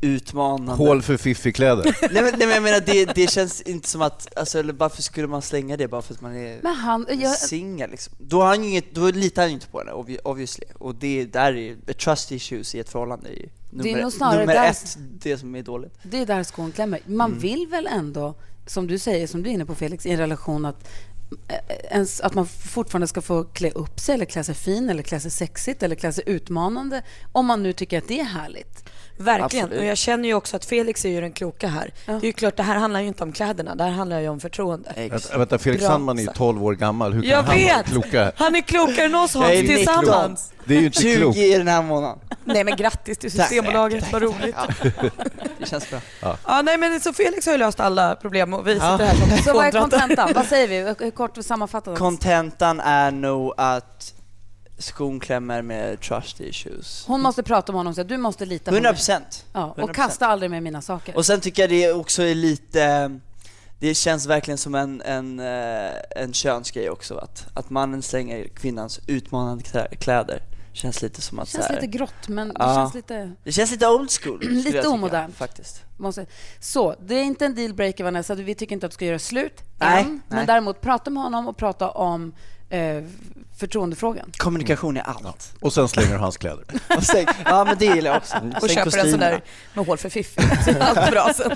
Speaker 14: utmanande.
Speaker 6: Hål för fiffig-kläder.
Speaker 14: Nej men, nej, men jag menar det, det känns inte som att, alltså, eller varför skulle man slänga det bara för att man är
Speaker 5: Men han... Jag,
Speaker 14: singel liksom? Då, har han ju inget, då litar han ju inte på henne obvi- obviously. Och det där är ju, trust issues i ett förhållande är ju nummer,
Speaker 5: nog snarare
Speaker 14: nummer
Speaker 5: där-
Speaker 14: ett, Mm. det som är dåligt.
Speaker 5: det är där skon klämmer. Man vill väl ändå, som du säger, som du är inne på Felix, i en relation att, eh, ens, att man fortfarande ska få klä upp sig eller klä sig fin eller klä sig sexigt eller klä sig utmanande om man nu tycker att det är härligt.
Speaker 7: Verkligen.
Speaker 5: Absolut.
Speaker 7: Och jag känner ju också att Felix är ju den kloka här. Det är ju klart, det här handlar ju inte om kläderna, det här handlar ju om förtroende.
Speaker 6: Vänta, vänta, Felix
Speaker 7: Bra
Speaker 6: Sandman är ju
Speaker 7: sagt.
Speaker 6: 12 år gammal, hur kan
Speaker 7: Jag
Speaker 6: han vara
Speaker 7: vet!
Speaker 6: klokare?
Speaker 7: Han är klokare än oss Hans,
Speaker 6: Jag är inte
Speaker 7: tillsammans.
Speaker 6: klok. Det är ju inte
Speaker 14: 20
Speaker 6: klokt.
Speaker 14: i den här månaden.
Speaker 7: Nej men grattis till
Speaker 14: Tack.
Speaker 7: Systembolaget,
Speaker 14: Tack,
Speaker 7: vad
Speaker 14: tack,
Speaker 7: roligt. (laughs)
Speaker 14: tack. Ja. Det känns bra.
Speaker 7: Ja, nej men så Felix har ju löst alla problem och vi sitter
Speaker 14: Ja.
Speaker 7: här
Speaker 5: (laughs)
Speaker 7: som
Speaker 5: Så vad är
Speaker 7: fåntrattar.
Speaker 5: kontentan? Vad säger vi? Kort sammanfattat.
Speaker 14: Kontentan är nog att skon klämmer med trust issues.
Speaker 5: Hon måste prata med honom och säga du måste lita på
Speaker 14: 100%.
Speaker 5: Ja, och
Speaker 14: 100%.
Speaker 5: kasta aldrig med mina saker.
Speaker 14: Och sen tycker jag det också är lite, det känns verkligen som en, en, eh, en könsgrej också att, att mannen slänger kvinnans utmanande klä- kläder. Känns lite som att
Speaker 5: det känns
Speaker 14: så här,
Speaker 5: lite grått, men det
Speaker 14: Ja.
Speaker 5: känns lite...
Speaker 14: Det känns lite old school. skulle
Speaker 5: (clears throat)
Speaker 14: jag
Speaker 5: Lite
Speaker 14: tycka,
Speaker 5: omodernt.
Speaker 14: Faktiskt.
Speaker 5: Måste... Så, det är inte en dealbreaker, Vanessa. Vi tycker inte att du ska göra slut
Speaker 14: Nej,
Speaker 5: än. Men
Speaker 14: nej.
Speaker 5: däremot prata med honom och prata om eh, förtroendefrågan.
Speaker 14: Kommunikation är allt.
Speaker 6: Och sen slänger du hans kläder.
Speaker 14: Och stäng, ja men det gillar jag också.
Speaker 7: Och
Speaker 14: Stäng
Speaker 7: köper en sån
Speaker 14: kostymerna.
Speaker 7: där med hål för fiffigt. Så är allt bra sen.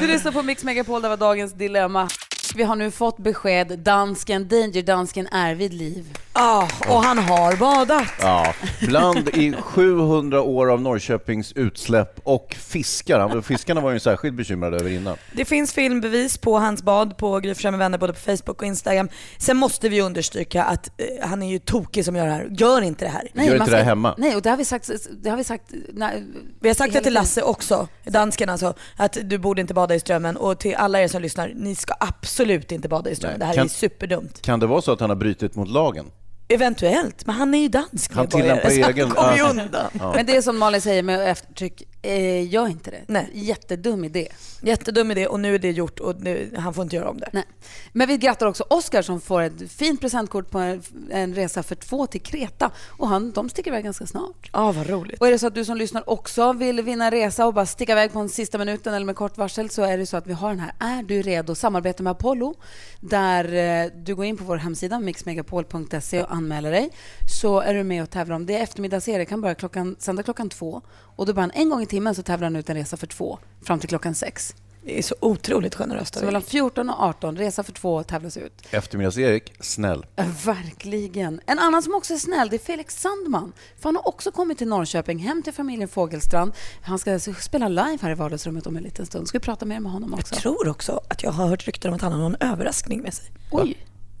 Speaker 5: Du lyssnar på Mix Megapol, det var dagens dilemma. Vi har nu fått besked. Dansken, danger dansken är vid liv.
Speaker 7: Ja, och han har badat.
Speaker 6: Ja, bland i 700 år av Norrköpings utsläpp och fiskar. Han- Fiskarna var ju särskilt bekymrade över innan.
Speaker 7: Det finns filmbevis på hans bad på Gry Forssell med vänner både på Facebook och Instagram. Sen måste vi understryka att eh, han är ju tokig som gör det här. Gör inte det här.
Speaker 6: Nej, Gör inte man ska- det här hemma.
Speaker 5: Nej, och det har vi sagt... Det har vi, sagt nej,
Speaker 7: vi har sagt det
Speaker 5: hela
Speaker 7: till
Speaker 5: tiden.
Speaker 7: Lasse också, dansken alltså, att du borde inte bada i strömmen. Och till alla er som lyssnar, ni ska absolut inte bada i strömmen.
Speaker 6: Nej,
Speaker 7: det här
Speaker 6: kan-
Speaker 7: är superdumt.
Speaker 6: Kan det vara så att han har brutit mot lagen?
Speaker 7: Eventuellt, men han är ju dansk
Speaker 6: Han
Speaker 7: medborgare,
Speaker 6: tillämpar
Speaker 7: så
Speaker 6: egen-
Speaker 7: Han kommer ju
Speaker 6: ja.
Speaker 7: undan.
Speaker 6: Ja.
Speaker 5: Men det är som Malin säger med eftertryck. Eh, gör inte det.
Speaker 7: Nej.
Speaker 5: Jättedum idé.
Speaker 7: Jättedum idé och nu är det gjort och nu, han får inte göra om det.
Speaker 5: Nej. Men vi grattar också Oscar som får ett fint presentkort på en, en resa för två till Kreta. Och han, de sticker iväg ganska snart.
Speaker 7: Ja, Ah, vad roligt.
Speaker 5: Och är det så att du som lyssnar också vill vinna en resa och bara sticka iväg på en sista minuten eller med kort varsel så är det så att vi har den här Är du redo? Samarbete med Apollo där eh, du går in på vår hemsida mixmegapol.se och anmäler dig så är du med och tävlar om det. är Eftermiddags-Erik kan börja klockan, sända klockan två och då bara en gång i timmen så tävlar han ut en resa för två fram till klockan sex.
Speaker 7: Det är så otroligt generöst
Speaker 5: Så mellan 14 och 18, resa för två tävlas ut.
Speaker 6: Eftermiddags-Erik, snäll.
Speaker 5: Ja, Verkligen. En annan som också är snäll, det är Felix Sandman. För han har också kommit till Norrköping, hem till familjen Fågelstrand. Han ska alltså spela live här i vardagsrummet om en liten stund. Ska vi prata mer med honom också?
Speaker 7: Jag tror också att jag har hört rykten om att han har någon överraskning med sig.
Speaker 5: Oj,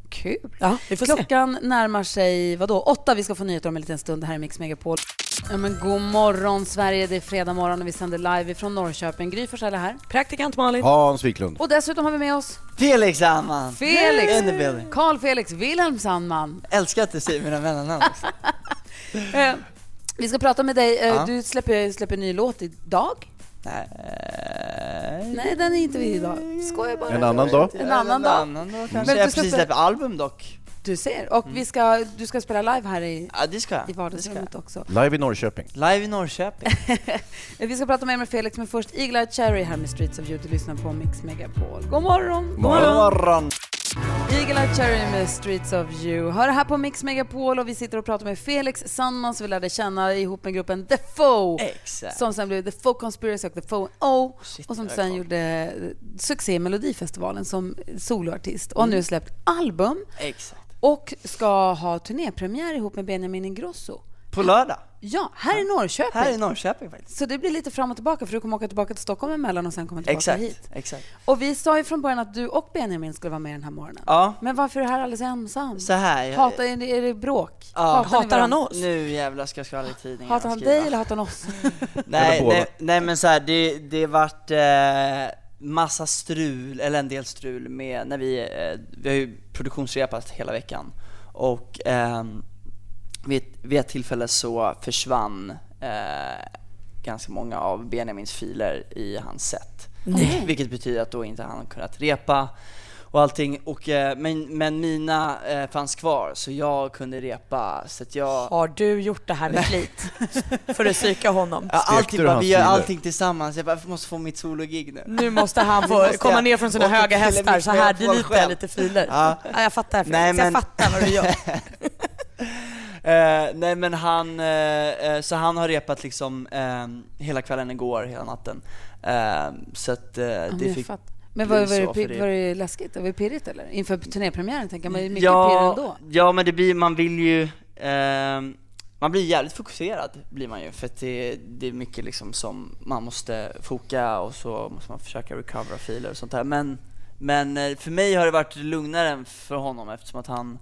Speaker 5: kul.
Speaker 7: Ja, vi får se.
Speaker 5: Klockan närmar sig, vadå, åtta. Vi ska få nyheter om en liten stund. Det här är Mix Megapol. Ja, men god morgon Sverige, det är fredag morgon och vi sänder live från Norrköping. Gry Forssell är här.
Speaker 7: Praktikant Malin.
Speaker 6: Hans Wiklund.
Speaker 5: Och dessutom har vi med oss
Speaker 14: Felix Sandman!
Speaker 5: Felix,
Speaker 14: Underbelly.
Speaker 5: Carl Felix Wilhelm Sandman.
Speaker 14: Älskar att du säger mina mellannamn. också.
Speaker 5: (laughs) Eh, vi ska prata med dig. Eh,
Speaker 14: Ja.
Speaker 5: Du släpper, släpper ny låt idag.
Speaker 14: Nej.
Speaker 5: Nej, den är inte vi idag. Skojar bara.
Speaker 6: En annan dag?
Speaker 5: En annan dag.
Speaker 14: En annan dag
Speaker 5: Men
Speaker 14: kanske. Jag har
Speaker 5: du ska
Speaker 14: precis
Speaker 5: spela-
Speaker 14: släppt album dock. Mm.
Speaker 5: Du ser. Och vi ska, du ska spela live här i,
Speaker 14: Ja, det ska
Speaker 5: i
Speaker 14: jag. Det ska
Speaker 5: vardagsrummet
Speaker 14: jag.
Speaker 5: också.
Speaker 6: Live i Norrköping.
Speaker 14: Live i Norrköping.
Speaker 5: Eh, Vi ska prata mer med Felix, men först Eagle-Eye Cherry här med Streets of You. Du lyssnar på Mix Megapol. God morgon!
Speaker 14: morgon.
Speaker 5: Eagle-Eye Cherry med Streets of You. Hör det här på Mix Megapol och vi sitter och pratar med Felix Sandman som vi lärde känna ihop med gruppen The Foe.
Speaker 14: Exakt.
Speaker 5: Som sen blev The Foe Conspiracy och The Foe O. Och som
Speaker 14: där
Speaker 5: sen
Speaker 14: kom.
Speaker 5: gjorde succé i Melodifestivalen som soloartist. Och har nu släppt album.
Speaker 14: Mm. Exakt.
Speaker 5: Och ska ha turnépremiär ihop med Benjamin Ingrosso.
Speaker 14: På lördag.
Speaker 5: Ja, här i Norrköping.
Speaker 14: Här i Norrköping faktiskt.
Speaker 5: Så det blir lite fram och tillbaka för du kommer åka tillbaka till Stockholm emellan och sen komma tillbaka
Speaker 14: Exakt,
Speaker 5: hit.
Speaker 14: exakt.
Speaker 5: Och vi sa ju från början att du och Benjamin skulle vara med den här morgonen.
Speaker 14: Ja.
Speaker 5: Men varför är du här alldeles ensam?
Speaker 14: Så här, jag-
Speaker 5: Hatar, är, det, är det bråk?
Speaker 14: Ja.
Speaker 5: Hatar ni varandra?
Speaker 14: Nu jävlar ska jag skvallra i tidningen
Speaker 5: Hatar
Speaker 14: och
Speaker 5: han
Speaker 14: skriva.
Speaker 5: dig eller hatar han oss?
Speaker 14: Nej,
Speaker 6: Eller båda.
Speaker 14: nej, nej men så här, det, det vart eh, massa strul, eller en del strul med när vi, eh, vi har ju produktionsrepat hela veckan och ehm, vid, ett- vid ett tillfälle så försvann eh, ganska många av Benjamins filer i hans set.
Speaker 7: Nej.
Speaker 14: Vilket betyder att då inte han kunnat repa och allting. Och, eh, men, men mina eh, fanns kvar så jag kunde repa så att jag
Speaker 7: Har du gjort det här med flit? För att psyka honom?
Speaker 14: Ja, allting, bara, vi gör allting tillsammans. Jag bara, jag måste få mitt sologig nu.
Speaker 7: Nu måste han få
Speaker 14: Nu måste
Speaker 7: komma
Speaker 14: jag
Speaker 7: ner från sina
Speaker 14: åka
Speaker 7: höga
Speaker 14: till en
Speaker 7: hästar. Så här
Speaker 14: mikrofon
Speaker 7: deletar jag
Speaker 14: själv.
Speaker 7: lite filer.
Speaker 14: Ja.
Speaker 7: Ja, jag fattar Felix.
Speaker 14: Nej,
Speaker 7: Jag
Speaker 14: men-
Speaker 7: fattar vad du (laughs) gör.
Speaker 14: Eh, nej men han, eh, eh, så han har repat liksom eh, hela kvällen igår, hela natten. Eh, så att eh,
Speaker 5: Ja, men
Speaker 14: det
Speaker 5: jag
Speaker 14: fick
Speaker 5: fattar. Men
Speaker 14: bli
Speaker 5: var, var, det,
Speaker 14: så för
Speaker 5: pi- var det läskigt? Var det pirrigt eller? Inför turnépremiären tänker jag, men det är mycket pirr
Speaker 14: ja,
Speaker 5: ändå.
Speaker 14: ja men det blir, man vill ju, ehm, man blir jävligt fokuserad blir man ju för att det, det är mycket liksom som man måste foka och så måste man försöka recovera filer och sånt där. Men, men eh, för mig har det varit lugnare än för honom eftersom att han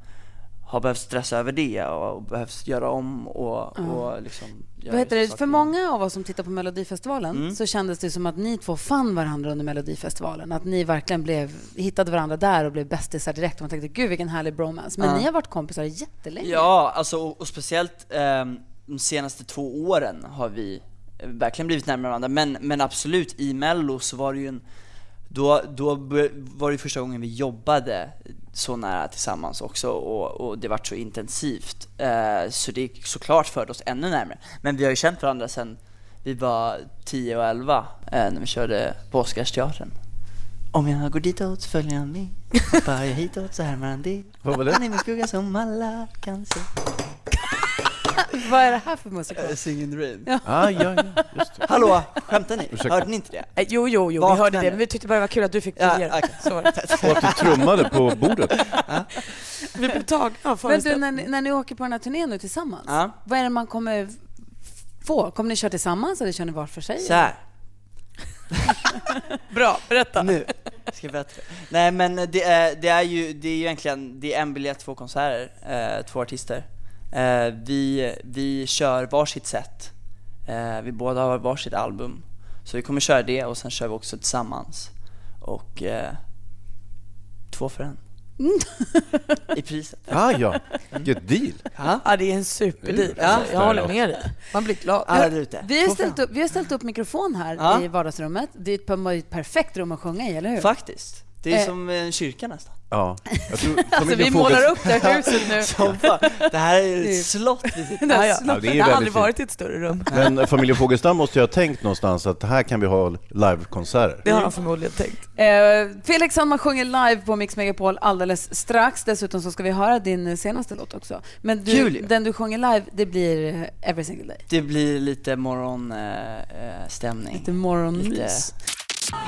Speaker 14: har behövt stressa över det och, och behövt göra om och,
Speaker 5: Ja.
Speaker 14: och liksom göra
Speaker 5: Vad heter det?
Speaker 14: saker.
Speaker 5: För många av oss som tittar på Melodifestivalen
Speaker 14: Mm.
Speaker 5: så kändes det som att ni två fann varandra under Melodifestivalen. Att ni verkligen blev, hittade varandra där och blev bästisar direkt. Och man tänkte, gud vilken härlig bromance. Men
Speaker 14: Ja.
Speaker 5: ni har varit kompisar jättelänge.
Speaker 14: Ja, alltså, och, och speciellt ehm, de senaste två åren har vi eh, verkligen blivit närmare varandra. Men, men absolut, i Mello så var det ju en... Då, då bör- var det första gången vi jobbade så nära tillsammans också och, och det vart så intensivt. Eh, så det såklart förde oss ännu närmare. Men vi har ju känt varandra sedan vi var 10 och 11 eh, när vi körde på Oscarsteatern. Om jag går ditåt följer han med. Hoppar jag hitåt så härmar han det.
Speaker 6: Vad var det?
Speaker 14: Han är min skugga som alla kan se.
Speaker 5: Vad är det här för musik?
Speaker 14: Singing Rain.
Speaker 6: Ah, ja, ja, just det.
Speaker 14: Hallå, skämtar ni?
Speaker 6: Ursäkta.
Speaker 14: Hörde ni inte det?
Speaker 7: Eh, Jo, jo, jo, vi
Speaker 14: Vakna
Speaker 7: hörde det.
Speaker 14: nu.
Speaker 7: Men vi tyckte bara det var kul att du fick
Speaker 14: Ja,
Speaker 7: briljera.
Speaker 14: okej.
Speaker 7: Så var det.
Speaker 6: Och att du trummade på bordet.
Speaker 7: (laughs) Vi blev tagna av
Speaker 5: Men du,
Speaker 7: föreställningen.
Speaker 5: när, ni- när ni åker på den här turnén nu tillsammans,
Speaker 14: Ja.
Speaker 5: vad är det man kommer få? Kommer ni köra tillsammans eller kör ni var för sig?
Speaker 14: Så här.
Speaker 7: Bra, berätta.
Speaker 14: Nu. Ska jag berätta. Nej men det är, det är ju det är ju egentligen det är en biljett, två konserter, eh, två artister. Eh, vi, vi kör varsitt set. Eh, vi båda har varsitt album. Så vi kommer köra det och sen kör vi också tillsammans. Och eh, två för (laughs) en. I priset.
Speaker 6: Ah, ja. Get deal.
Speaker 7: Ja, det är en superdeal.
Speaker 6: Det är ju
Speaker 7: Ja,
Speaker 6: bra.
Speaker 7: jag håller med (laughs) dig. Man blir glad.
Speaker 14: Alla där ute.
Speaker 5: Vi har,
Speaker 14: Två för en.
Speaker 5: ställt upp, vi har ställt upp mikrofon här
Speaker 14: Ja.
Speaker 5: i vardagsrummet. Det är ett per- ett perfekt rum att sjunga i, eller hur?
Speaker 14: Faktiskt. Det är
Speaker 5: Eh.
Speaker 14: som en kyrka nästan.
Speaker 6: Ja. Jag tror,
Speaker 15: Alltså, vi målar upp det här huset nu.
Speaker 14: Som fan, det här är ett slott vi sitter
Speaker 7: Ja, ja.
Speaker 6: Ja, det är ju
Speaker 7: jag har
Speaker 6: väldigt
Speaker 7: aldrig
Speaker 6: fint.
Speaker 7: varit i ett större rum.
Speaker 6: Men eh, familjen Fogestam måste ju ha tänkt någonstans att här kan vi ha livekonserter.
Speaker 7: Det har han förmodligen tänkt.
Speaker 5: Eh, Felix Sandman sjunger live på Mix Megapol alldeles strax. Dessutom så ska vi höra din senaste låt också. Men du,
Speaker 14: Julia.
Speaker 5: den du sjunger live, det blir eh, Every single day.
Speaker 14: Det blir lite morgonstämning.
Speaker 5: Lite morgonmys.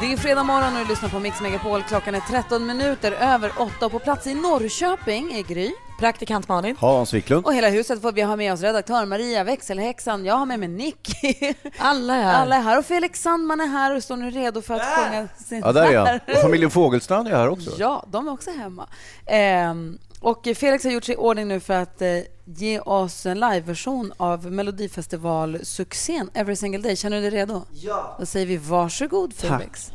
Speaker 5: Det är fredag morgon och du lyssnar på Mix Megapol. Klockan är 13 minuter över 8 och på plats i Norrköping är Gry.
Speaker 7: Praktikant Malin.
Speaker 6: Hans Wiklund.
Speaker 5: Och hela huset får vi ha med oss redaktör Maria, växelhäxan, jag har med mig Nicky.
Speaker 7: Alla är här.
Speaker 5: Alla är här och Felix Sandman är här och står nu redo för att sjunga sin
Speaker 6: Ja, där är han. Och familjen Fogelstrand är här också.
Speaker 5: Ja, de är också hemma. Ehm, och Felix har gjort sig i ordning nu för att eh, ge oss en liveversion av Melodifestivalsuccén Every single day. Känner du dig redo? Ja. Då säger vi varsågod Felix.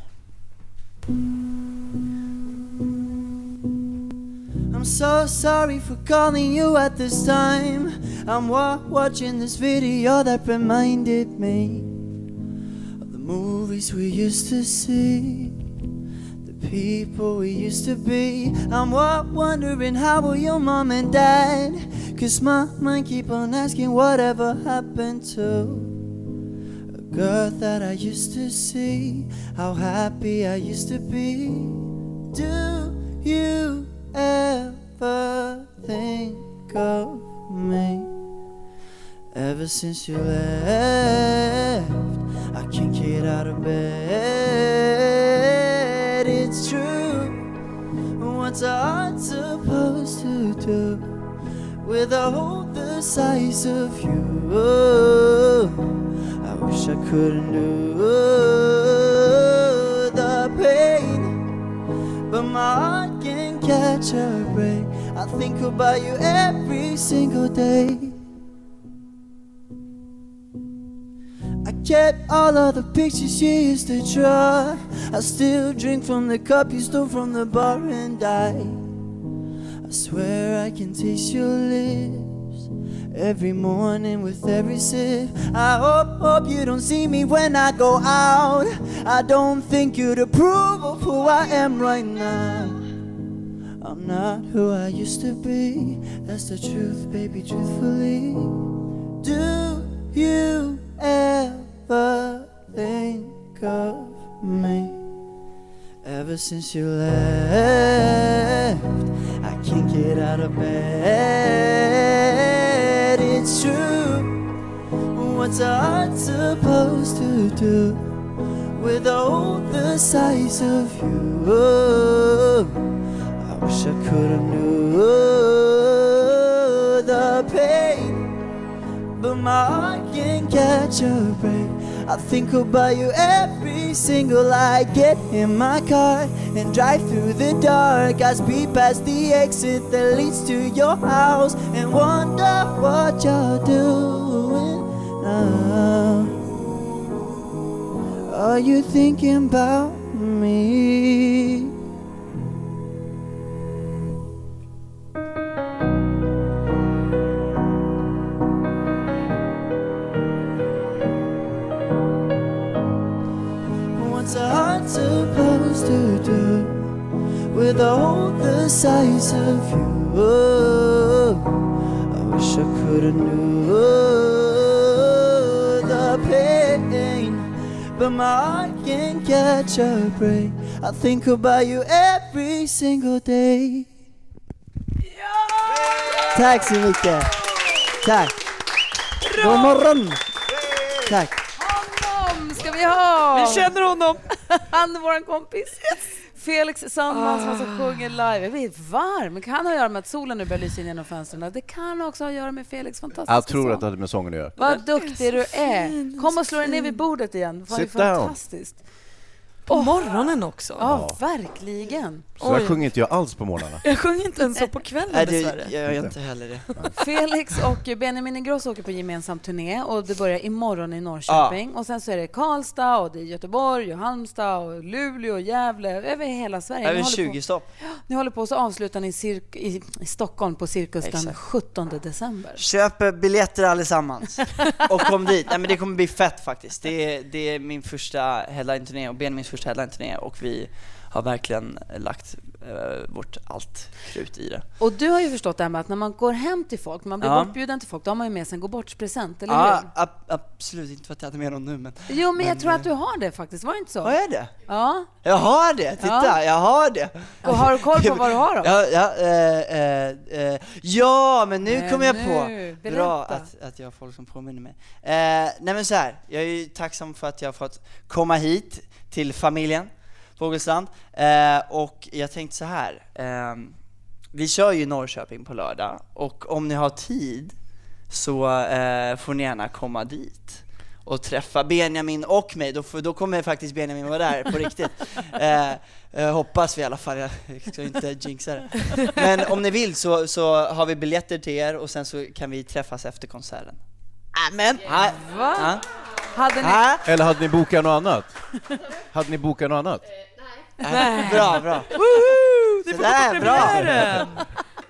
Speaker 14: I'm so sorry for calling you at this time. I'm wa- watching this video that reminded me of the movies we used to see, the people we used to be. I'm wa- wondering how were your mom and dad? Cause my mind keep on asking whatever happened to a girl that I used to see, how happy I used to be. Do you ever think of me? Ever since you left, I can't get out of bed. It's true. What's our heart supposed to do?
Speaker 9: with a hole the size of you. Oh, I wish I could have knew the pain, but my heart can't catch a break. I think about you every single day. I kept all of the pictures you used to draw. I still drink from the cup you stole from the bar and die. I swear I can taste your lips every morning with every sip. I hope, hope you don't see me when I go out. I don't think you'd approve of who I am right now. I'm not who I used to be. That's the truth, baby, truthfully. Do you ever think of me? Ever since you left, I can't get out of bed. It's true. What's a heart supposed to do with all the size of you? I wish I could have knew the pain, but my heart can't catch a break. I think about you every single night. Get in my car and drive through the dark. I speed past the exit that leads to your house and wonder what you're doing now. Are you thinking about me? What's a heart supposed to do with a hole the size of you? I wish I could have knew the pain, but my heart can't catch a break. I think about you every single day. Tack så mycket. Tack. God morgon. Tack.
Speaker 5: Honom ska vi ha!
Speaker 9: Vi känner
Speaker 5: honom! Han är vår kompis. Felix Sandman som alltså sjunger live. Jag blir varm. Det kan ha att göra med att solen nu börjar lysa in genom fönstren. Det kan också ha att göra med Felix fantastiska
Speaker 6: Jag tror att det hade med sången att göra.
Speaker 5: Vad duktig du är! Kom och slå dig ner vid bordet igen. Fan, Det är
Speaker 6: Sit down.
Speaker 5: fantastiskt.
Speaker 7: På morgonen också.
Speaker 5: Ja, verkligen.
Speaker 6: Så där sjunger inte jag alls på morgnarna.
Speaker 7: Jag sjunger inte ens så på kvällen
Speaker 6: Nej, det-
Speaker 7: dessvärre.
Speaker 14: Eh,
Speaker 6: jag gör inte
Speaker 9: heller det.
Speaker 5: Felix och Benjamin Ingrosso åker på gemensam turné och det börjar imorgon i Norrköping.
Speaker 6: Ah.
Speaker 5: Och sen så är det Karlstad och det är Göteborg och Halmstad och Luleå och Gävle, över hela Sverige. Ni
Speaker 14: Över
Speaker 5: håller på-
Speaker 14: 20 stopp.
Speaker 5: Ni håller på och så avslutar ni cirk- i, i Stockholm på Cirkus den 17 december.
Speaker 14: Köp eh, biljetter allesammans (laughs) och kom dit. Nej men det kommer bli fett faktiskt. Det är, det är min första headline-turné och Benjamins första headline-turné och vi har verkligen lagt eh, vårt allt krut i det.
Speaker 5: Och du har ju förstått det här med att när man går hem till folk, när man blir
Speaker 14: Ja.
Speaker 5: bortbjuden till folk, då har man ju med sig en gå bort-present, eller
Speaker 14: Ja,
Speaker 5: hur?
Speaker 14: Ah, ab- absolut inte för att jag hade med någon nu Mm. men...
Speaker 5: Jo, men, jag tror
Speaker 14: eh,
Speaker 5: att du har det faktiskt, var det inte så?
Speaker 14: Har jag det?
Speaker 5: Ja.
Speaker 14: Jag har det! Titta,
Speaker 5: Ja.
Speaker 14: jag har det!
Speaker 5: Och har du koll på vad du har då?
Speaker 14: Ja, ja, eh, eh, eh, ja men nu
Speaker 5: Men
Speaker 14: kommer jag
Speaker 5: Eh, nu,
Speaker 14: på! Bra
Speaker 5: berätta.
Speaker 14: att, att jag har folk som påminner mig. Eh, nej men så här, jag är ju tacksam för att jag har fått komma hit till familjen Fogelstrand. Eh, och jag tänkte så här. ehm, vi kör ju Norrköping på lördag och om ni har tid så eh, får ni gärna komma dit och träffa Benjamin och mig. Då, får, då kommer faktiskt Benjamin vara där på riktigt. Eh, eh, hoppas vi i alla fall. Jag ska ju inte jinxa det. Men om ni vill så, så har vi biljetter till er och sen så kan vi träffas efter konserten. Amen! Ha,
Speaker 5: Va?
Speaker 14: ha.
Speaker 5: Hade ni...
Speaker 14: Ha?
Speaker 6: Eller hade ni bokat något annat? Hade ni bokat något annat?
Speaker 14: Nej. Bra, bra.
Speaker 5: Ni
Speaker 14: Så där, bra!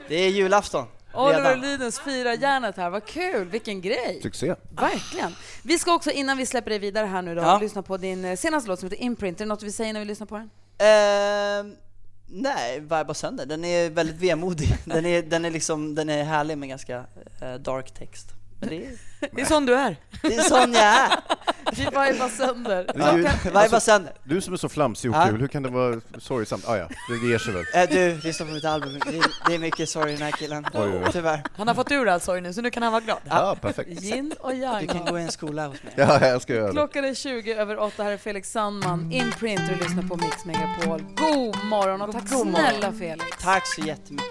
Speaker 14: Det är julafton.
Speaker 5: Oliver
Speaker 14: redan.
Speaker 5: Lydens firar järnet här, vad kul, vilken grej!
Speaker 6: Succé.
Speaker 5: Verkligen. Vi ska också, innan vi släpper dig vidare här nu då,
Speaker 14: Ja.
Speaker 5: lyssna på din eh, senaste låt som heter Imprint. Är det något vi säger när vi lyssnar på den?
Speaker 14: Ehm, nej, Vibe och sönder. Den är väldigt vemodig. Den är, den är, liksom, den är härlig med ganska eh, dark text. Men det, är,
Speaker 7: Det är sån du är.
Speaker 14: (laughs) det är sån jag
Speaker 16: (laughs)
Speaker 14: är.
Speaker 5: (laughs)
Speaker 16: Alltså-
Speaker 5: Vi vibar sönder.
Speaker 6: Det är ju-
Speaker 14: Vibe sönder.
Speaker 6: Du som är så flamsig och
Speaker 14: Ja.
Speaker 6: kul, hur kan det vara sorgsamt? Ah, ja, det ger sig väl.
Speaker 14: Eh, du, lyssna på mitt album. Det är, det är mycket sorg i den här killen.
Speaker 6: Oj, oj, oj.
Speaker 14: Tyvärr.
Speaker 7: Han har fått ur all sorg nu så nu kan han vara glad.
Speaker 6: Ja, perfekt.
Speaker 5: Gin och yang.
Speaker 14: Du kan gå i en skola hos mig.
Speaker 6: Ja, jag ska göra det.
Speaker 5: Klockan är 20 över 8. Här är Felix Sandman, Imprint, och du lyssnar på Mix Megapol. God morgon och tack
Speaker 14: God morgon.
Speaker 5: snälla Felix.
Speaker 14: Tack så jättemycket.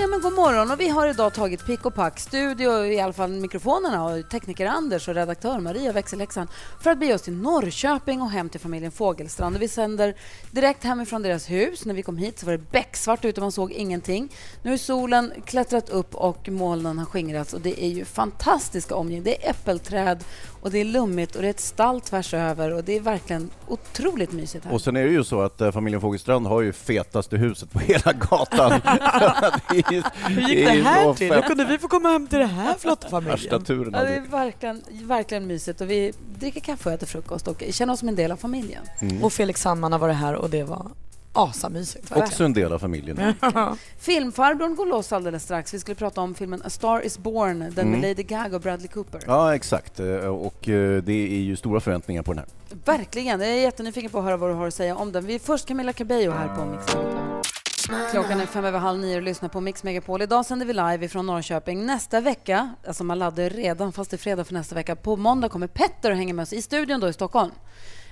Speaker 5: Ja, men god morgon. Och vi har idag tagit pick och pack, studio, i alla fall mikrofonerna och tekniker Anders och redaktör Maria växelhäxan för att bege oss till Norrköping och hem till familjen Fågelstrand. Och vi sänder direkt hemifrån deras hus. När vi kom hit så var det becksvart ute och man såg ingenting. Nu har solen klättrat upp och molnen har skingrats och det är ju fantastiska omgivningar. Det är äppelträd och det är lummigt och det är ett stall tvärs över och det är verkligen otroligt mysigt här.
Speaker 6: Och sen är det ju så att eh, familjen Fogelstrand har ju fetaste huset på hela gatan.
Speaker 17: Hur
Speaker 6: det
Speaker 17: gick det
Speaker 6: är så
Speaker 17: här till? Hur
Speaker 6: fett.
Speaker 17: kunde vi få komma hem till det här flotta
Speaker 6: Värsta
Speaker 17: familjen?
Speaker 6: turen
Speaker 5: Ja, det är
Speaker 6: aldrig.
Speaker 5: verkligen, verkligen mysigt. Och vi dricker kaffe och äter frukost och känner oss som en del av familjen.
Speaker 6: Mm.
Speaker 7: Och Felix Sandman har varit här och det var asamysigt.
Speaker 6: Också en del av familjen.
Speaker 7: (laughs)
Speaker 5: Filmfarbrorn går loss alldeles strax. Vi skulle prata om filmen A Star Is Born, den
Speaker 6: Mm.
Speaker 5: med Lady Gaga och Bradley Cooper.
Speaker 6: Ja, exakt. Eh, Och eh, det är ju stora förväntningar på den här.
Speaker 5: Verkligen. Jag är jättenyfiken på att höra vad du har att säga om den. Vi är först Camilla Cabello här på Mix Megapol. Klockan är fem över halv nio och lyssnar på Mix Megapol. Idag sänder vi live ifrån Norrköping. Nästa vecka, alltså man laddar ju redan fast det är fredag för nästa vecka, på måndag kommer Petter och hänger med oss i studion då i Stockholm.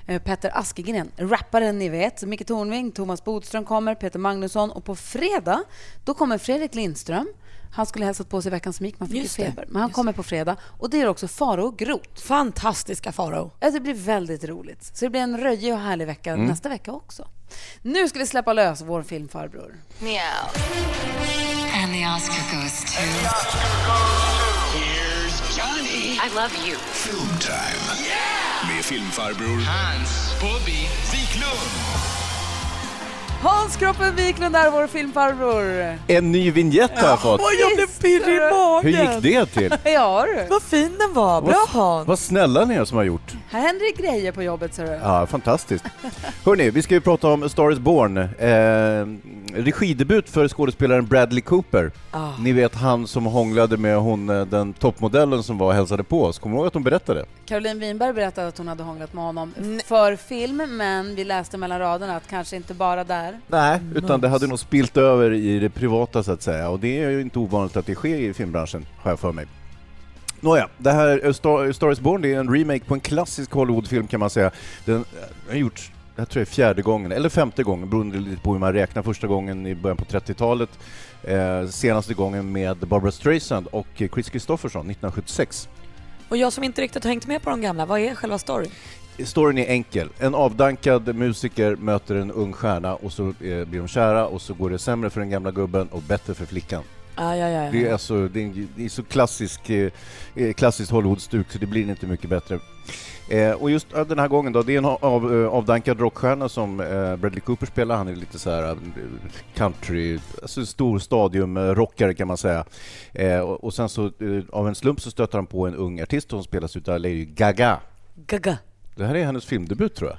Speaker 5: Eh, Petter Askegren, rapparen ni vet. Micke Tornving, Thomas Bodström kommer, Peter Magnusson och på fredag då kommer Fredrik Lindström. Han skulle hälsat på sig i veckan som gick, man fick ju
Speaker 7: Just det.
Speaker 5: feber. Men han kommer på fredag och det är också Faro Groth. Fantastiska Faro. Ja, Alltså, det blir väldigt roligt. Så det blir en röjig och härlig vecka
Speaker 11: Mm.
Speaker 5: nästa vecka också. Nu ska vi släppa lös vår filmfarbror.
Speaker 11: Meow. And the Oscar goes to. Here's Johnny. I love you.
Speaker 18: Filmtime. Med filmfarbror Hans Bobby Wiklund.
Speaker 5: Hans Kroppen Wiklund är vår filmfarbror.
Speaker 6: En ny vignett har jag fått.
Speaker 5: jag blev pirrig i
Speaker 6: Hur gick det till?
Speaker 5: Ja du. Vad fin den var.
Speaker 6: Vad- Vad snälla ni är som har gjort.
Speaker 5: Här händer det grejer på jobbet ser du.
Speaker 6: Ja, fantastiskt. Hörni, vi ska ju prata om A Star is Born. Eh, regidebut för skådespelaren Bradley Cooper.
Speaker 5: Ah.
Speaker 6: Ni vet han som hånglade med hon, eh, den toppmodellen som var och hälsade på oss. Kommer du ihåg att hon berättade?
Speaker 5: Caroline Winberg berättade att hon hade hånglat med honom för film, men vi läste mellan raderna att kanske inte bara där.
Speaker 6: Nej. Utan det hade nog spilt över i det privata så att säga. Och det är ju inte ovanligt att det sker i filmbranschen, har jag för mig. Nåja, det här A Star, A Star is Born det är en remake på en klassisk Hollywoodfilm kan man säga. Den eh, har gjorts, jag tror det är fjärde gången, eller femte gången, beroende lite på hur man räknar. Första gången i början på 30-talet, eh, senaste gången med Barbara Streisand och eh, Chris Christopherson 1976.
Speaker 7: Och jag som inte riktigt har hängt med på de gamla, vad är själva storyn?
Speaker 6: Storyn är enkel. En avdankad musiker möter en ung stjärna och så eh, blir de kära och så går det sämre för den gamla gubben och bättre för flickan.
Speaker 7: Ah, ja, ja, ja.
Speaker 6: Det är, alltså, det är, en- det är så klassisk, eh, eh, klassiskt Hollywood-stuk så det blir inte mycket bättre. Eh, och just eh, den här gången då, det är en av, eh, avdankad rockstjärna som eh, Bradley Cooper spelar. Han är lite så här eh, country, alltså stor stadiumrockare kan man säga. Eh, och, och sen så eh, av en slump så stöter han på en ung artist som spelas utav Lady Gaga.
Speaker 7: Gaga.
Speaker 6: Det här är hennes filmdebut tror jag.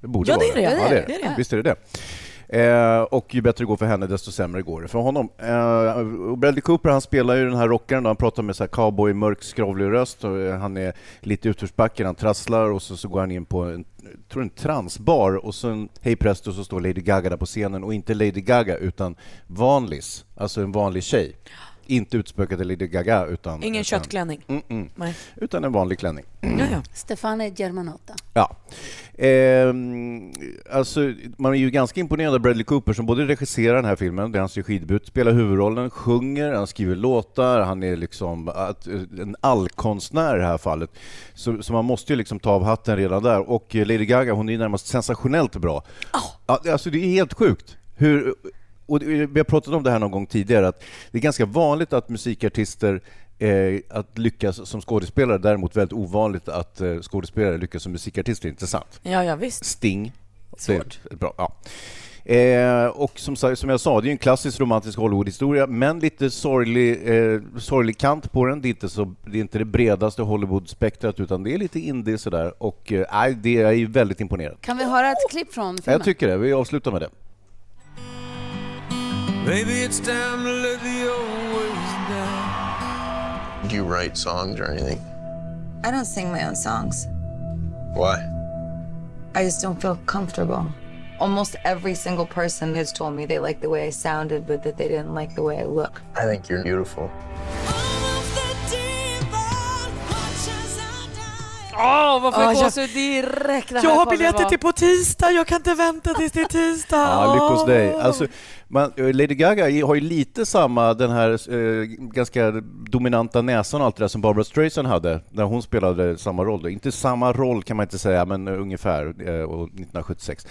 Speaker 6: Det borde
Speaker 7: Ja, det är
Speaker 6: vara
Speaker 7: det.
Speaker 6: Ja, det, är det. Visst är det det. Eh, och ju bättre det går för henne, desto sämre går det för honom. Eh, och Bradley Cooper han spelar ju den här rockaren, då. han pratar med så här cowboy, mörk, skrovlig röst. Och, eh, han är lite i utförsbacken, han trasslar och så, så går han in på en, jag tror en transbar och sen hej presto så står Lady Gaga där på scenen och inte Lady Gaga utan vanlis, alltså en vanlig tjej. Inte utspökade Lady Gaga utan...
Speaker 7: Ingen
Speaker 6: utan,
Speaker 7: köttklänning?
Speaker 6: Mm-mm.
Speaker 7: Nej.
Speaker 6: mm. Utan en vanlig klänning.
Speaker 5: Stefane Germanotta.
Speaker 6: Ja. Ehm, alltså, man är ju ganska imponerad av Bradley Cooper som både regisserar den här filmen, det är hans regidebut, spelar huvudrollen, sjunger, han skriver låtar, han är liksom att, en allkonstnär i det här fallet. Så, så man måste ju liksom ta av hatten redan där. Och eh, Lady Gaga, hon är ju närmast sensationellt bra. Ja, Alltså det är helt sjukt. Hur, och det- vi har pratat om det här någon gång tidigare, att det är ganska vanligt att musikartister Eh, att lyckas som skådespelare, däremot väldigt ovanligt att eh, skådespelare lyckas som musikartister, inte sant?
Speaker 7: Ja, ja visst.
Speaker 6: Sting. Svårt. Bra, ja. Eh, och som, sa- som jag sa, det är ju en klassisk romantisk Hollywood-historia, men lite sorglig, eh, sorglig kant på den. Det är inte, så, det, är inte det bredaste Hollywood-spektrat, utan det är lite indie sådär. Och eh, nej, det är ju väldigt imponerande.
Speaker 5: Kan vi höra ett klipp från filmen?
Speaker 6: Jag tycker det. Vi avslutar med det.
Speaker 15: Maybe it's time to let the old ways die.
Speaker 19: Do you write songs or anything?
Speaker 20: I don't sing my own songs.
Speaker 19: Why?
Speaker 20: I just don't feel comfortable. Almost every single person has told me they liked the way I sounded, but that they didn't like the way I look.
Speaker 19: I think you're beautiful.
Speaker 5: Åh, varför
Speaker 17: Ah,
Speaker 5: jag
Speaker 17: jag-
Speaker 5: gåshud direkt? Det här
Speaker 17: Jag har
Speaker 5: kommer
Speaker 17: biljetter
Speaker 5: vara-
Speaker 17: till på tisdag, jag kan inte vänta tills det är tisdag.
Speaker 6: Ja, lyckos
Speaker 17: Åh.
Speaker 6: dig. Alltså, man, Lady Gaga har ju lite samma, den här eh, ganska dominanta näsan och allt det där som Barbara Streisand hade när hon spelade samma roll. Då. Inte samma roll kan man inte säga, men eh, ungefär, eh, och 1976.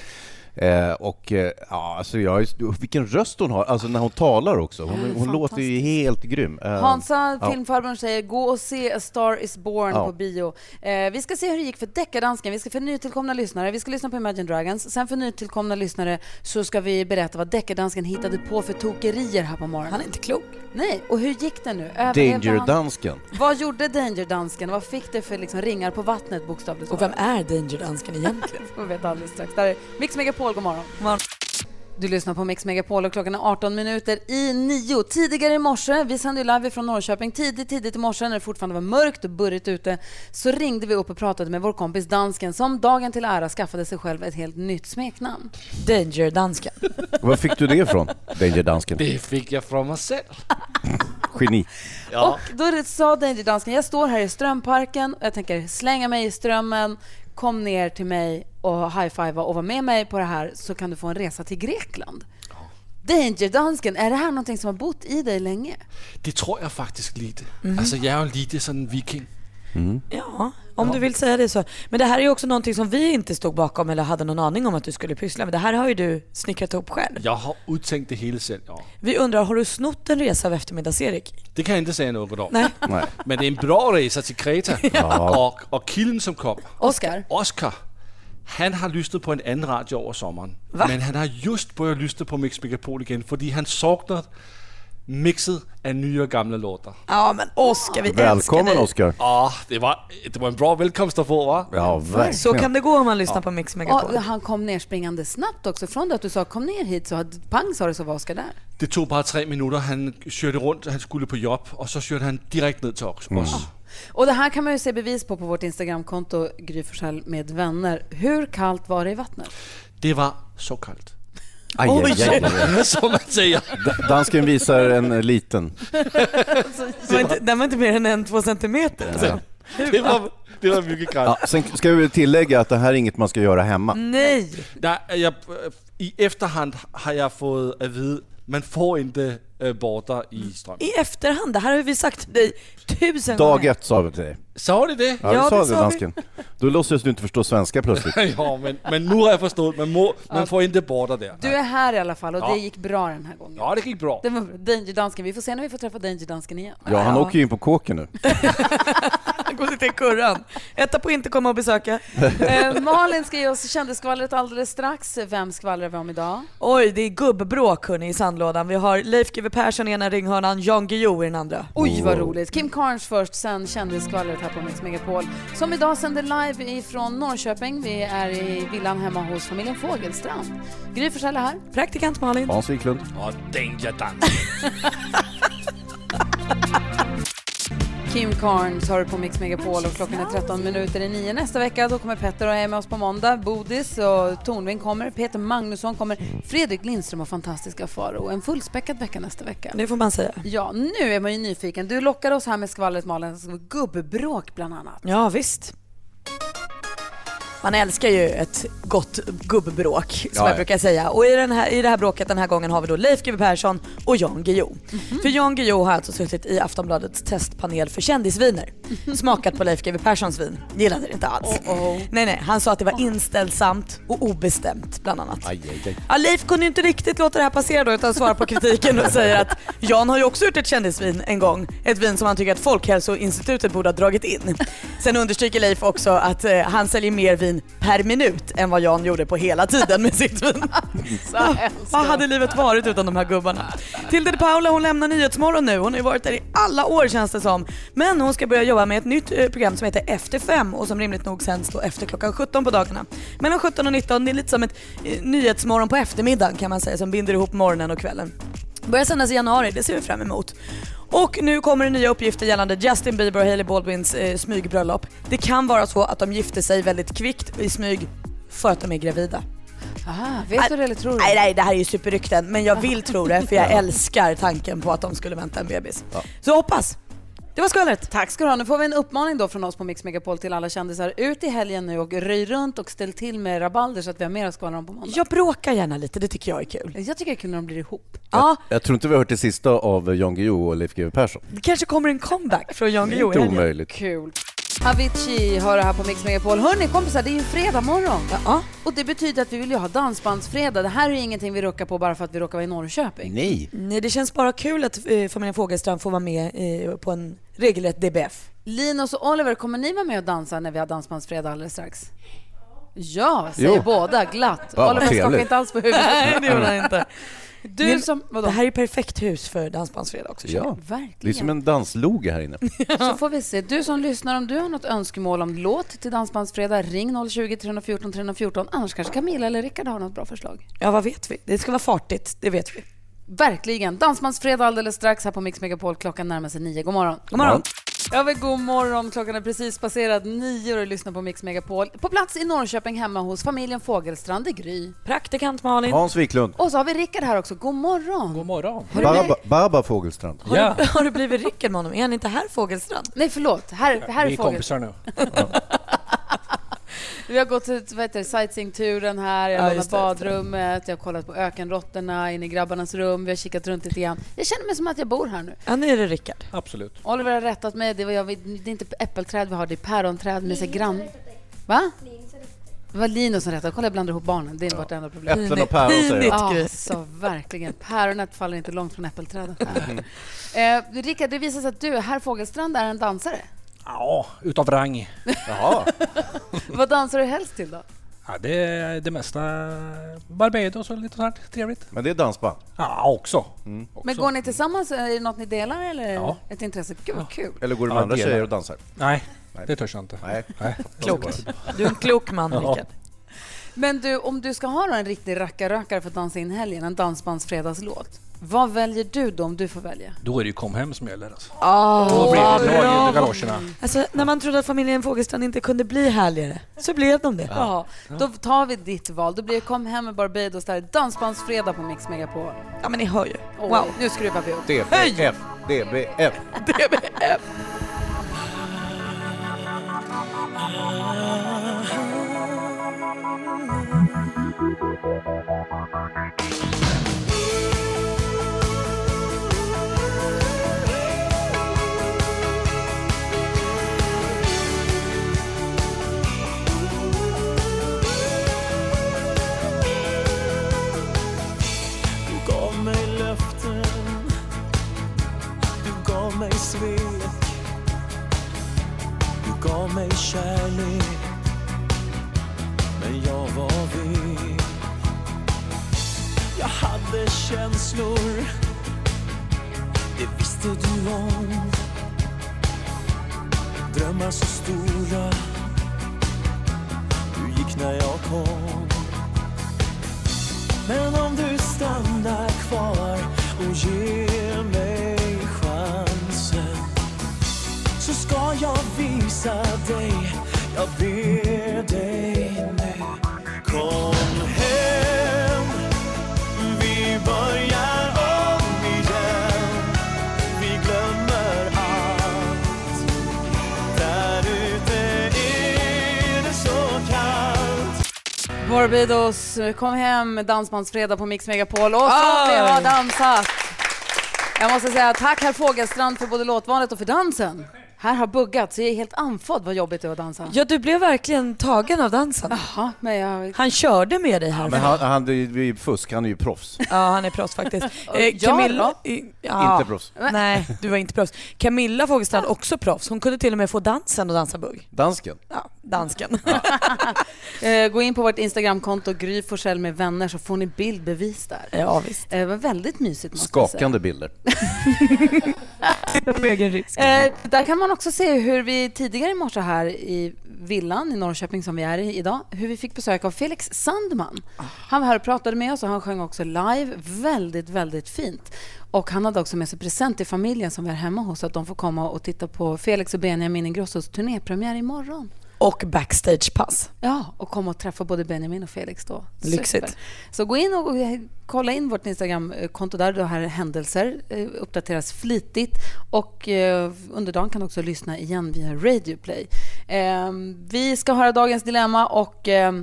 Speaker 6: Eh, och eh, ja, alltså jag, är- vilken röst hon har, alltså när hon talar också.
Speaker 5: Ja, det
Speaker 6: Hon,
Speaker 5: är
Speaker 6: hon låter ju helt grym. Eh,
Speaker 5: Hansa,
Speaker 6: ja.
Speaker 5: filmfarbrorn, säger gå och se A Star Is Born
Speaker 6: Ja.
Speaker 5: på bio. Eh, vi ska se hur det gick för deckardansken. Vi ska för nytillkomna lyssnare, vi ska lyssna på Imagine Dragons. Sen för nytillkomna lyssnare så ska vi berätta vad deckardansken hittade på för tokerier här på morgonen. Han är
Speaker 7: inte klok.
Speaker 5: Nej, och hur gick det nu? Överlevde han?
Speaker 6: Danger-dansken.
Speaker 5: Vad gjorde Danger-dansken? Vad fick det för liksom ringar på vattnet bokstavligt
Speaker 7: Och vem är Danger-dansken egentligen?
Speaker 5: Det (laughs) får vi veta alldeles strax. Där är Mix Megapol, god morgon. Du lyssnar på Mix Megapol och klockan är 18 minuter i nio. Tidigare i morse, vi sände ju live från Norrköping, tidigt, tidigt i morse när det fortfarande var mörkt och burrigt ute, så ringde vi upp och pratade med vår kompis dansken som dagen till ära skaffade sig själv ett helt nytt smeknamn.
Speaker 7: Danger-dansken.
Speaker 6: Var fick du det ifrån? Danger-dansken?
Speaker 16: Det fick jag från mig själv.
Speaker 6: Geni.
Speaker 5: Och då är det- sa Danger Dansken, jag står här i Strömparken och jag tänker slänga mig i Strömmen, kom ner till mig och high-fivea och var med mig på det här så kan du få en resa till Grekland. Danger Dansken, är det här någonting som har bott i dig länge?
Speaker 16: Det tror jeg faktisk lidt.
Speaker 7: Mhm.
Speaker 16: Altså, jeg Alltså, er jo lidt sådan en viking.
Speaker 7: Ja, om du vill säga det så. Men det här är ju också någonting som vi inte stod bakom eller hade någon aning om att du skulle pyssla med. Det här har ju du snickrat ihop själv.
Speaker 16: Jeg har udtænkt det hele selv. Ja.
Speaker 7: Vi undrar, har du snott en resa av eftermiddags-Erik?
Speaker 16: Det kan jeg ikke sige noget om.
Speaker 7: Nej.
Speaker 16: Nej. Men det er en bra rejse til Kreta.
Speaker 7: Ja.
Speaker 16: Og, og kilden, som kom,
Speaker 5: Oscar.
Speaker 16: Oscar, han har lyttet på en anden radio over sommeren.
Speaker 7: Hva?
Speaker 16: Men han har just börjat lytte på Mix Megapol igen, fordi han saknar mixet af nye og gamle låter.
Speaker 7: Ja, men Oskar, vi
Speaker 6: Välkommen Oskar.
Speaker 16: Åh, Ah, det, var, det var en bra välkomst att få va?
Speaker 6: Ja, verkligen.
Speaker 7: Så kan det gå om man lyssnar på Mix Megapol.
Speaker 5: Och han kom ner springande snabbt också. Från det att du sa kom ner hit så hade- pang sa det så var Oscar där.
Speaker 16: Det tog bare tre minutter. Han kørte rundt, han skulle på jobb, og så kørte han direkte ned til os.
Speaker 6: Mm.
Speaker 16: os.
Speaker 5: Och det här kan man ju se bevis på på vårt Instagramkonto Gry Forssell med vänner. Hur kallt var det i vattnet?
Speaker 16: Det var så kaldt.
Speaker 6: Aj,
Speaker 16: Oj,
Speaker 6: aj, aj,
Speaker 16: (laughs)
Speaker 6: aj.
Speaker 16: som man säger.
Speaker 6: Da- Dansken visar en eh, liten.
Speaker 7: Det var inte, den var inte mer än en, två centimeter.
Speaker 6: Ja.
Speaker 16: Det var, det var mycket
Speaker 6: Ja,
Speaker 16: kallt.
Speaker 6: sen ska vi väl tillägga att det här är inget man ska göra hemma.
Speaker 7: Nej!
Speaker 16: Der, er jeg, øh, I efterhand har jag fået at vide, man får inte øh, borter i strøm.
Speaker 7: I efterhand, det här har vi sagt till dig tusen
Speaker 6: Dag
Speaker 7: gånger.
Speaker 6: ett sa vi till dig.
Speaker 16: Sa du (laughs) det?
Speaker 6: Ja, det sa du dansken. Då låtsades du inte förstå svenska plötsligt.
Speaker 16: ja, men, men nu har jeg forstået, man, må, man får inte borter der.
Speaker 5: Du är här i alla fall och
Speaker 16: Ja.
Speaker 5: det gick bra den här gången.
Speaker 16: Ja, det gik bra.
Speaker 5: Det var bra. Danger Dansken. Vi får se när vi får träffa Danger Dansken igen.
Speaker 6: Ja, han åker ju in på kåken nu.
Speaker 7: Han går sitta i kurran. Etta på inte komma och besöka.
Speaker 5: Eh, Malin ska ge oss kändisskvallret alldeles strax. Vem skvallrar vi om idag?
Speaker 7: Oj, det är gubbbråk hörni i sandlådan. Vi har Leif GW Persson i ena ringhörnan, Jan Guillou i den andra.
Speaker 5: Oj, vad roligt. Kim Carnes först, sen kändisskvallret här på Mix Megapol. Som idag sänder live ifrån Norrköping. Vi är i villan hemma hos familjen Fågelstrand. Gry Forssell är här.
Speaker 7: Praktikant Malin.
Speaker 6: Hans Wiklund.
Speaker 16: Og danger dang.
Speaker 5: Kim Carnes har du på Mix Megapol och klockan är 13 minuter i nio. Nästa vecka då kommer Petter och är med oss på måndag. Bodis och Tornving kommer. Peter Magnusson kommer. Fredrik Lindström och fantastiska Faro. En fullspäckad vecka nästa vecka.
Speaker 7: Det får man säga.
Speaker 5: Ja, nu är man ju nyfiken. Du lockar oss här med skvallret Malin. Gubbbråk bland annat.
Speaker 7: Ja, visst. Man älskar ju ett gott gubbbråk som
Speaker 5: Ja, ja.
Speaker 7: jag brukar säga. Och i, den här, i det här bråket den här gången har vi då Leif GW Persson och Jan Guillou. För Jan Guillou har alltså suttit i Aftonbladets testpanel för kändisviner. Smakat på Leif GW Perssons vin. Gillade det inte alls. Nej, nej. Han sa att det var inställsamt och obestämt bland annat.
Speaker 6: Aj, aj, aj.
Speaker 7: Ja, Leif kunde ju inte riktigt låta det här passera då utan svarar på kritiken och säger att Jan har ju också gjort ett kändisvin en gång. Ett vin som han tycker att Folkhälsoinstitutet borde ha dragit in. Sen understryker Leif också att eh, han säljer mer vin per minut än vad Jan gjorde på hela tiden med sitt vin. Ja, (laughs) Vad hade livet varit utan de här gubbarna? Tilde de Paula hon lämnar Nyhetsmorgon nu. Hon har ju varit där i alla år känns det som. Men hon ska börja jobba med ett nytt eh, program som heter Efter fem och som rimligt nog sänds då efter klockan 17 på dagarna. Mellan 17 och 19, det är lite som ett eh, Nyhetsmorgon på eftermiddagen kan man säga som binder ihop morgonen och kvällen. Börjar sändas i januari, det ser vi fram emot. Och nu kommer det nya uppgifter gällande Justin Bieber och Hailey Baldwins eh, smygbröllop. Det kan vara så att de gifte sig väldigt kvickt i smyg för att de är gravida.
Speaker 5: Aha, vet du det eller tror du?
Speaker 7: Nej, nej, det här är ju superrykten. Men jag vill tro det för jag
Speaker 5: Ja.
Speaker 7: älskar tanken på att de skulle vänta en bebis.
Speaker 5: Ja.
Speaker 7: Så jag hoppas.
Speaker 5: Det var skvallret. Tack ska du ha. Nu får vi en uppmaning då från oss på Mix Megapol till alla kändisar. Ut i helgen nu och röj runt och ställ till med rabalder så att vi har mer att skvallra om på måndag.
Speaker 7: Jag bråkar gärna lite, det tycker jag är kul.
Speaker 5: Jag tycker det är kul när de blir ihop.
Speaker 7: Ja,
Speaker 6: Jag tror inte vi har hört det sista av Jan Guillou och Leif GW Persson.
Speaker 7: det kanske kommer en comeback från Jan
Speaker 6: Det är
Speaker 7: Guillou i
Speaker 6: inte
Speaker 7: helgen.
Speaker 6: omöjligt.
Speaker 5: Kul. Avicii har det här på Mix Megapol. Hörni kompisar, det är ju fredag morgon. Och det betyder att vi vill ju ha dansbandsfredag. Det här är ju ingenting vi råkar på bara för att vi råkar vara i Norrköping.
Speaker 6: Nej.
Speaker 7: Nej, det känns bara kul att eh, familjen Fogelstrand får vara med eh, på en regelrätt DBF.
Speaker 5: Linus och Oliver, kommer ni vara med och dansa när vi har dansbandsfredag alldeles strax? Ja, säger
Speaker 7: Jo.
Speaker 5: båda glatt.
Speaker 7: Vad
Speaker 5: Oliver skakar
Speaker 7: trevligt.
Speaker 5: inte alls på huvudet.
Speaker 7: (laughs) Nej, det gjorde han inte.
Speaker 5: Du
Speaker 7: Men
Speaker 5: som- vadå?
Speaker 7: Det här är ett perfekt hus för dansbandsfredag också. känner
Speaker 6: Ja.
Speaker 7: jag.
Speaker 6: Det är som en dansloge här (laughs) inne.
Speaker 5: Så får vi se. Du som lyssnar, om du har något önskemål om låt till Dansbandsfredag, ring 020-314 314. Annars kanske Camilla eller Rickard har något bra förslag.
Speaker 7: Ja, vad vet vi? Det ska vara fartigt, det vet vi.
Speaker 5: Verkligen. Dansbandsfredag alldeles strax här på Mix Megapol. Klockan närmar sig nio. God morgon.
Speaker 7: God morgon.
Speaker 5: Ja, men god morgon. Klockan är precis passerat nio och du lyssnar på Mix Megapol. På plats i Norrköping hemma hos familjen Fogelstrand i Gry.
Speaker 7: Praktikant Malin.
Speaker 6: Hans Wiklund.
Speaker 5: Och så har vi Rickard här också. God morgon. God morgon.
Speaker 6: Baba, Baba Fogelstrand.
Speaker 7: Har, du, har du blivit rycken med honom? Är han inte här, Fogelstrand?
Speaker 5: Nej, förlåt. Här, här är Fogel.
Speaker 21: nu.
Speaker 5: (laughs) Vi har gått ut vad heter det, sightseeingturen här,
Speaker 21: Ja,
Speaker 5: jag har
Speaker 21: just
Speaker 5: lånat
Speaker 21: det, just det.
Speaker 5: badrummet, jag har kollat på ökenråttorna inne i grabbarnas rum, vi har kikat runt lite grann. Jag känner mig som att jag bor här nu.
Speaker 7: Ja, nu är det Rickard.
Speaker 21: Absolut.
Speaker 5: Oliver har rättat mig. Det, var jag, det är inte äppelträd vi har, det är päronträd med sig grann... Va? Det var Linus som rättade. Kolla, jag blandar ihop barnen. Det är vårt enda problem.
Speaker 6: Äpplen och päron, säger jag. Pinigt, Gry.
Speaker 5: Ja, så verkligen. Päronet faller inte långt
Speaker 21: (laughs)
Speaker 5: från äppelträdet.
Speaker 21: Mm.
Speaker 5: eh, Rickard, det visar sig att du, herr Fogelstrand, är en dansare.
Speaker 21: Ja, utav rang. Jaha.
Speaker 5: Vad dansar du helst till då?
Speaker 21: Ja, det är det mesta. Barbados och lite sånt här trevligt.
Speaker 6: Men det är dansband?
Speaker 21: Ja, också.
Speaker 5: Men går ni tillsammans? Är det något ni delar eller
Speaker 21: Ja.
Speaker 5: ett intresse? Gud, vad kul.
Speaker 6: Eller går du med
Speaker 21: Ja,
Speaker 6: andra
Speaker 21: delar.
Speaker 6: tjejer och dansar?
Speaker 21: Nej, det törs jag inte.
Speaker 6: Nej.
Speaker 7: Klokt. Du är en klok man,
Speaker 21: Ja.
Speaker 7: Rickard.
Speaker 5: Men du, om du ska ha då en riktig rackarrökare för att dansa in helgen, en dansbandsfredagslåt, vad väljer du då om du får välja?
Speaker 21: Då är det ju kom hem som gäller alltså.
Speaker 7: Åh,
Speaker 21: Då blir
Speaker 7: vad
Speaker 21: det drag ut i
Speaker 7: bra.
Speaker 21: galoscherna.
Speaker 7: Alltså, när man trodde att familjen Fogelstrand inte kunde bli härligare, så blev de det.
Speaker 5: Ja. då tar vi ditt val. Då blir det Kom hem med Barbados där, dansbandsfredag på Mix Megapol.
Speaker 7: Ja, men ni hör ju.
Speaker 5: Oj,
Speaker 7: Wow.
Speaker 5: Nu skruvar vi upp.
Speaker 6: DBF, DBF.
Speaker 15: Du gav mig löften Du gav mig svek Du gav mig kärlek Men jag var vek Jag hade känslor Det visste du om Drömmar så stora Du gick när jag kom men om du stannar kvar och ger mig chansen så ska jag visa dig, jag ber dig nu. Kom hem, vi börjar om igen. Vi glömmer allt. Där ute är det så kallt.
Speaker 5: (laughs) Barbados, kom hem med dansbandsfredag på Mix Megapol. Och så
Speaker 15: Oj.
Speaker 5: vi har dansat! Jag måste säga tack herr Fogelstrand för både låtvalet och för dansen. Här har buggat, så jag är helt andfådd vad jobbigt det var att dansa.
Speaker 7: Ja, du blev verkligen tagen av dansen.
Speaker 5: men jag...
Speaker 7: Han körde med dig här.
Speaker 6: Men han, han det är ju fusk, han är ju proffs.
Speaker 7: Ja, han är proffs faktiskt. Eh,
Speaker 5: Ja,
Speaker 7: Camilla...
Speaker 5: då.
Speaker 7: eh, ja.
Speaker 6: Inte proffs.
Speaker 7: Nej, du var inte proffs. Camilla Fogelstrand, också proffs. Hon kunde till och med få dansen att dansa bugg.
Speaker 6: Dansken?
Speaker 7: Ja, dansken.
Speaker 5: Eh, Gå in på vårt Instagramkonto, Gry Forssell med vänner, så får ni bildbevis där.
Speaker 7: (laughs)
Speaker 5: Eh,
Speaker 7: Ja, visst.
Speaker 5: Det var väldigt mysigt måste jag säga.
Speaker 6: Skakande bilder.
Speaker 7: På egen risk.
Speaker 5: Eh, där kan man också se hur vi tidigare i morse här i villan i Norrköping som vi är i idag, hur vi fick besök av Felix Sandman. Han var här och pratade med oss och han sjöng också live. Väldigt, väldigt fint. Och han hade också med sig present till familjen som vi är hemma hos så att de får komma och titta på Felix och Benjamin Ingrossos turnépremiär imorgon.
Speaker 7: och backstagepass.
Speaker 5: Ja, och kom och träffa både Benjamin och Felix då.
Speaker 7: Lyxigt.
Speaker 5: Så gå in och och kolla in vårt Instagram-konto där. Det här är händelser eh, uppdateras flitigt. Och eh, under dagen kan du också lyssna igen via Radio Play. Eh, Vi ska höra dagens dilemma och eh,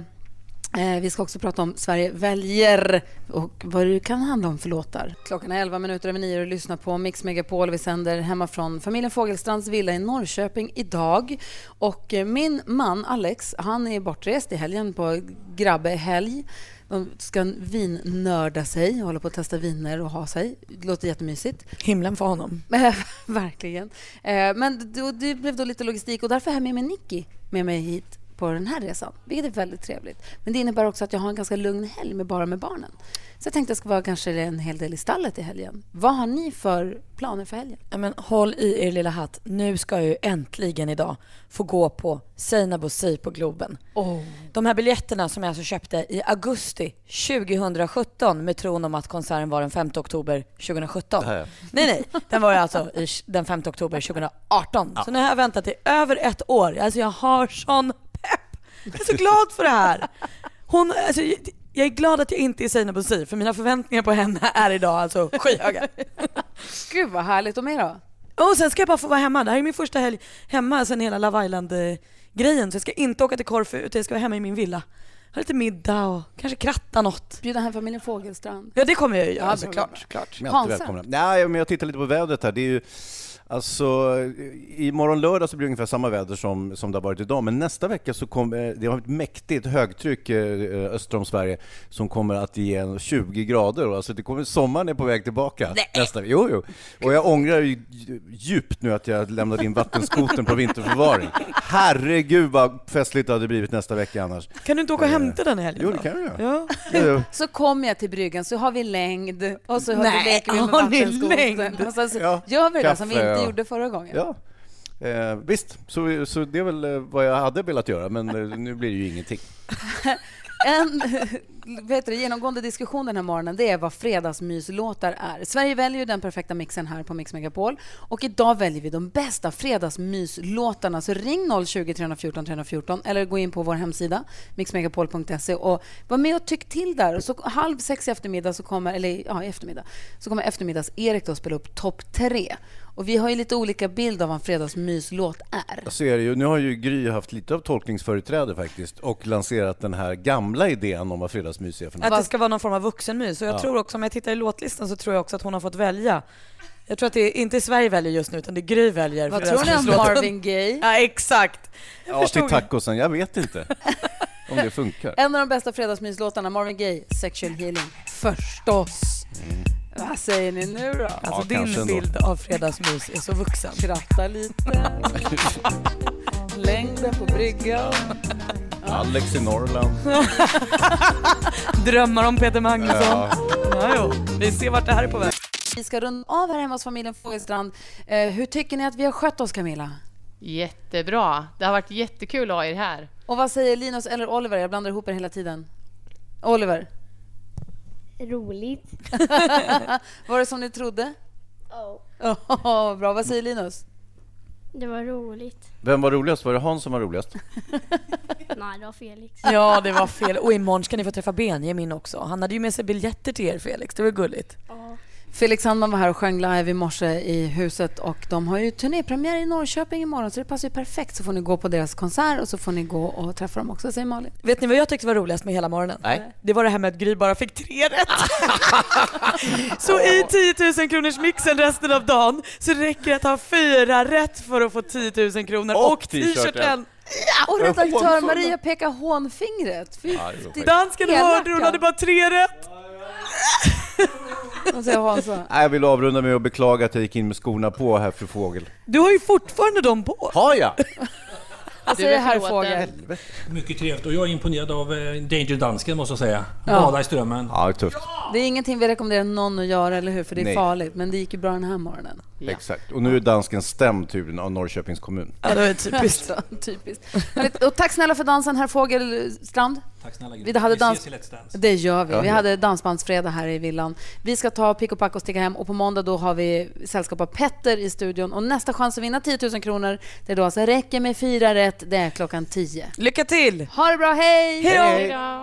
Speaker 5: eh, vi ska också prata om Sverige väljer och vad det kan handla om för låtar. Klockan är 11 minuter över 9 och du lyssnar på Mix Megapol. Vi sänder hemma från familjen Fogelstrands villa i Norrköping idag. Och eh, min man Alex, han är bortrest i helgen på grabbehelg. De ska vinnörda sig, hålla på att testa viner och ha sig. Det låter jättemysigt. (laughs)
Speaker 7: Himlen för honom.
Speaker 5: Eh, Verkligen. Eh, Men då, det blev då lite logistik och därför har jag med mig Nicky med mig hit på den här resan, vilket är väldigt trevligt. Men det innebär också att jag har en ganska lugn helg med bara med barnen. Så jag tänkte jag ska vara kanske en hel del i stallet i helgen. Vad har ni för planer för helgen?
Speaker 7: Ja, men håll i er lilla hatt. Nu ska jag ju äntligen idag få gå på Seinabo Sea på Globen. De här biljetterna som jag alltså köpte i augusti 2017 med tron om att konserten var den 5 oktober 2017.
Speaker 2: Det här, ja.
Speaker 7: Nej, nej. Den var ju alltså i, den 5 oktober 2018. Så nu har jag väntat i över ett år. Alltså jag har sån pepp. Jag är så glad för det här. Hon, alltså, jag- jag är glad att jag inte är Seinabo Sea för mina förväntningar på henne är idag alltså skyhöga.
Speaker 5: Gud vad härligt. Och mer då?
Speaker 7: Och sen ska jag bara få vara hemma. Det här är min första helg hemma sen hela Love Island-grejen. Så jag ska inte åka till Korfu utan jag ska vara hemma i min villa. Ha lite middag och kanske kratta något.
Speaker 5: Bjuda hem familjen Fogelstrand.
Speaker 7: Ja det kommer jag ju göra
Speaker 5: Ja, bra, bra,
Speaker 7: såklart.
Speaker 5: bra.
Speaker 7: såklart.
Speaker 6: De är alltid välkomna. Nej, men jag tittar lite på vädret här. Det är ju, alltså, imorgon lördag så blir det ungefär samma väder som, som det har varit idag, men nästa vecka så kommer det har ett mäktigt högtryck eh, öster om Sverige som kommer att ge en 20 grader. Och Alltså, det kommer, sommaren är på väg tillbaka.
Speaker 2: Nej.
Speaker 6: Nästa, jo, jo. Och jag ångrar ju djupt nu att jag lämnade in vattenskoten på vinterförvaring. Herregud vad festligt det hade blivit nästa vecka annars.
Speaker 7: Kan du inte åka och hämta den i helgen
Speaker 6: Jo, det
Speaker 7: då?
Speaker 6: kan jag göra.
Speaker 7: Ja.
Speaker 6: Ja.
Speaker 5: Så kommer jag till bryggan så har vi längd och så har
Speaker 7: Nej,
Speaker 5: vi leker vi med
Speaker 7: har ni
Speaker 5: vattenskoten.
Speaker 7: längd?
Speaker 5: Och sen så
Speaker 6: Ja,
Speaker 5: Alltså, gör vi det som vi inte
Speaker 6: kaffe och-
Speaker 5: gjorde förra gången.
Speaker 6: Ja. Eh, visst, så, så det är väl eh, vad jag hade velat göra, men eh, nu blir det ju ingenting.
Speaker 5: En vet du, genomgående diskussion den här morgonen det är vad fredagsmyslåtar är. Sverige väljer ju den perfekta mixen här på Mix Megapol. Och idag väljer vi de bästa fredagsmyslåtarna. Så ring 020 314 314 eller gå in på vår hemsida mixmegapol.se och var med och tyck till där. Och så halv sex i eftermiddag så kommer, eller ja, i eftermiddag, så kommer eftermiddags-Erik då spela upp topp tre. Och vi har ju lite olika bild av vad en fredagsmyslåt är.
Speaker 6: Alltså, Så är det ju, nu har ju Gry haft lite av tolkningsföreträde faktiskt och lanserat den här gamla idén om vad fredagsmys är för
Speaker 7: Att det
Speaker 6: något.
Speaker 7: ska vara någon form av vuxenmys. Och jag
Speaker 6: Ja.
Speaker 7: tror också, om jag tittar i låtlistan så tror jag också att hon har fått välja. Jag tror att det är, inte Sverige väljer just nu utan det är Gry väljer.
Speaker 5: Vad
Speaker 7: för
Speaker 5: tror ni om
Speaker 7: Rasmuslåten.
Speaker 5: Marvin Gaye?
Speaker 7: Ja exakt.
Speaker 6: Ja, till tacosen, jag
Speaker 5: (laughs)
Speaker 6: vet inte om det funkar.
Speaker 5: En av de bästa fredagsmyslåtarna, Marvin Gaye, Sexual Healing. Förstås! Vad säger ni nu då?
Speaker 7: Alltså din bild av fredagsmys är så vuxen.
Speaker 5: Skratta lite. Längden på bryggan.
Speaker 6: Alex i Norrland.
Speaker 7: Drömmar om Peter Magnusson.
Speaker 6: Ja.
Speaker 7: Ja, jo. Vi ser vart det här är på väg.
Speaker 5: Vi ska runda av här hemma hos familjen Fogelstrand. Eh, hur tycker ni att vi har skött oss, Camilla?
Speaker 8: Jättebra. Det har varit jättekul att ha er här.
Speaker 5: Och vad säger Linus eller Oliver? Jag blandar ihop er hela tiden. Oliver,
Speaker 22: Roligt.
Speaker 5: var det som ni trodde?
Speaker 22: Ja.
Speaker 5: Oh, bra. Vad säger Linus?
Speaker 22: Det var roligt.
Speaker 6: Vem var roligast? Var det Hans som var roligast?
Speaker 22: Nej, det var Felix.
Speaker 7: Ja, det var fel. Och imorgon ska ni få träffa Benjamin också. Han hade ju med sig biljetter till er, Felix. Det var gulligt.
Speaker 5: Felix Sandman var här och sjöng live i morse i huset och de har ju turnépremiär i Norrköping imorgon så det passar ju perfekt så får ni gå på deras konsert och så får ni gå och träffa dem också, säger Malin.
Speaker 7: Vet ni vad jag tyckte var roligast med hela morgonen?
Speaker 5: Nej.
Speaker 7: Det var det här med att Gry bara fick tre (laughs) rätt. så i 10 000 kronors mixen resten av dagen så räcker det att ha fyra rätt för att få 10 000 kronor och, t-shirten.
Speaker 5: Ja, och redaktör Maria pekar hånfingret. Fy
Speaker 7: Ja, det var
Speaker 5: fy-
Speaker 7: Dansken
Speaker 5: elaka.
Speaker 7: hörde, hon hade bara tre rätt.
Speaker 5: Vad säger Hansa?
Speaker 6: Nej, Jag vill avrunda med att beklaga att jag gick in med skorna på här, fru Fågel.
Speaker 7: Du har ju fortfarande dem på.
Speaker 6: Har jag?
Speaker 5: Vad
Speaker 22: Du
Speaker 5: säger
Speaker 22: är
Speaker 5: herr
Speaker 22: förlåten.
Speaker 5: Fågel?
Speaker 21: Mycket trevligt och jag är imponerad av eh, Danger Dansken måste jag säga.
Speaker 5: Ja.
Speaker 21: Bada i strömmen.
Speaker 6: Ja, det är tufft.
Speaker 5: Det är ingenting vi rekommenderar någon att göra, eller hur? För det är
Speaker 21: Nej.
Speaker 5: farligt. Men det gick ju bra den här morgonen.
Speaker 6: Exakt. Och nu är dansken stämd tydligen av Norrköpings kommun.
Speaker 7: Ja, det var typiskt.
Speaker 5: typiskt. Härligt. Och tack snälla för dansen, herr Fågelstrand.
Speaker 8: Tack snälla, Gry.
Speaker 5: Vi hade
Speaker 8: Vi
Speaker 5: dans...
Speaker 8: ses i Let's Dance.
Speaker 5: Det gör vi.
Speaker 8: Ja,
Speaker 5: Vi
Speaker 8: ja.
Speaker 5: hade dansbandsfredag här i villan. Vi ska ta pick och pack och sticka hem och på måndag då har vi sällskap av Petter i studion. Och nästa chans att vinna 10 000 kronor, det är då alltså räcker med fyra rätt, det är klockan 10.
Speaker 7: (laughs) Lycka till!
Speaker 5: Ha det bra, hej!
Speaker 23: Hej då! Hej då!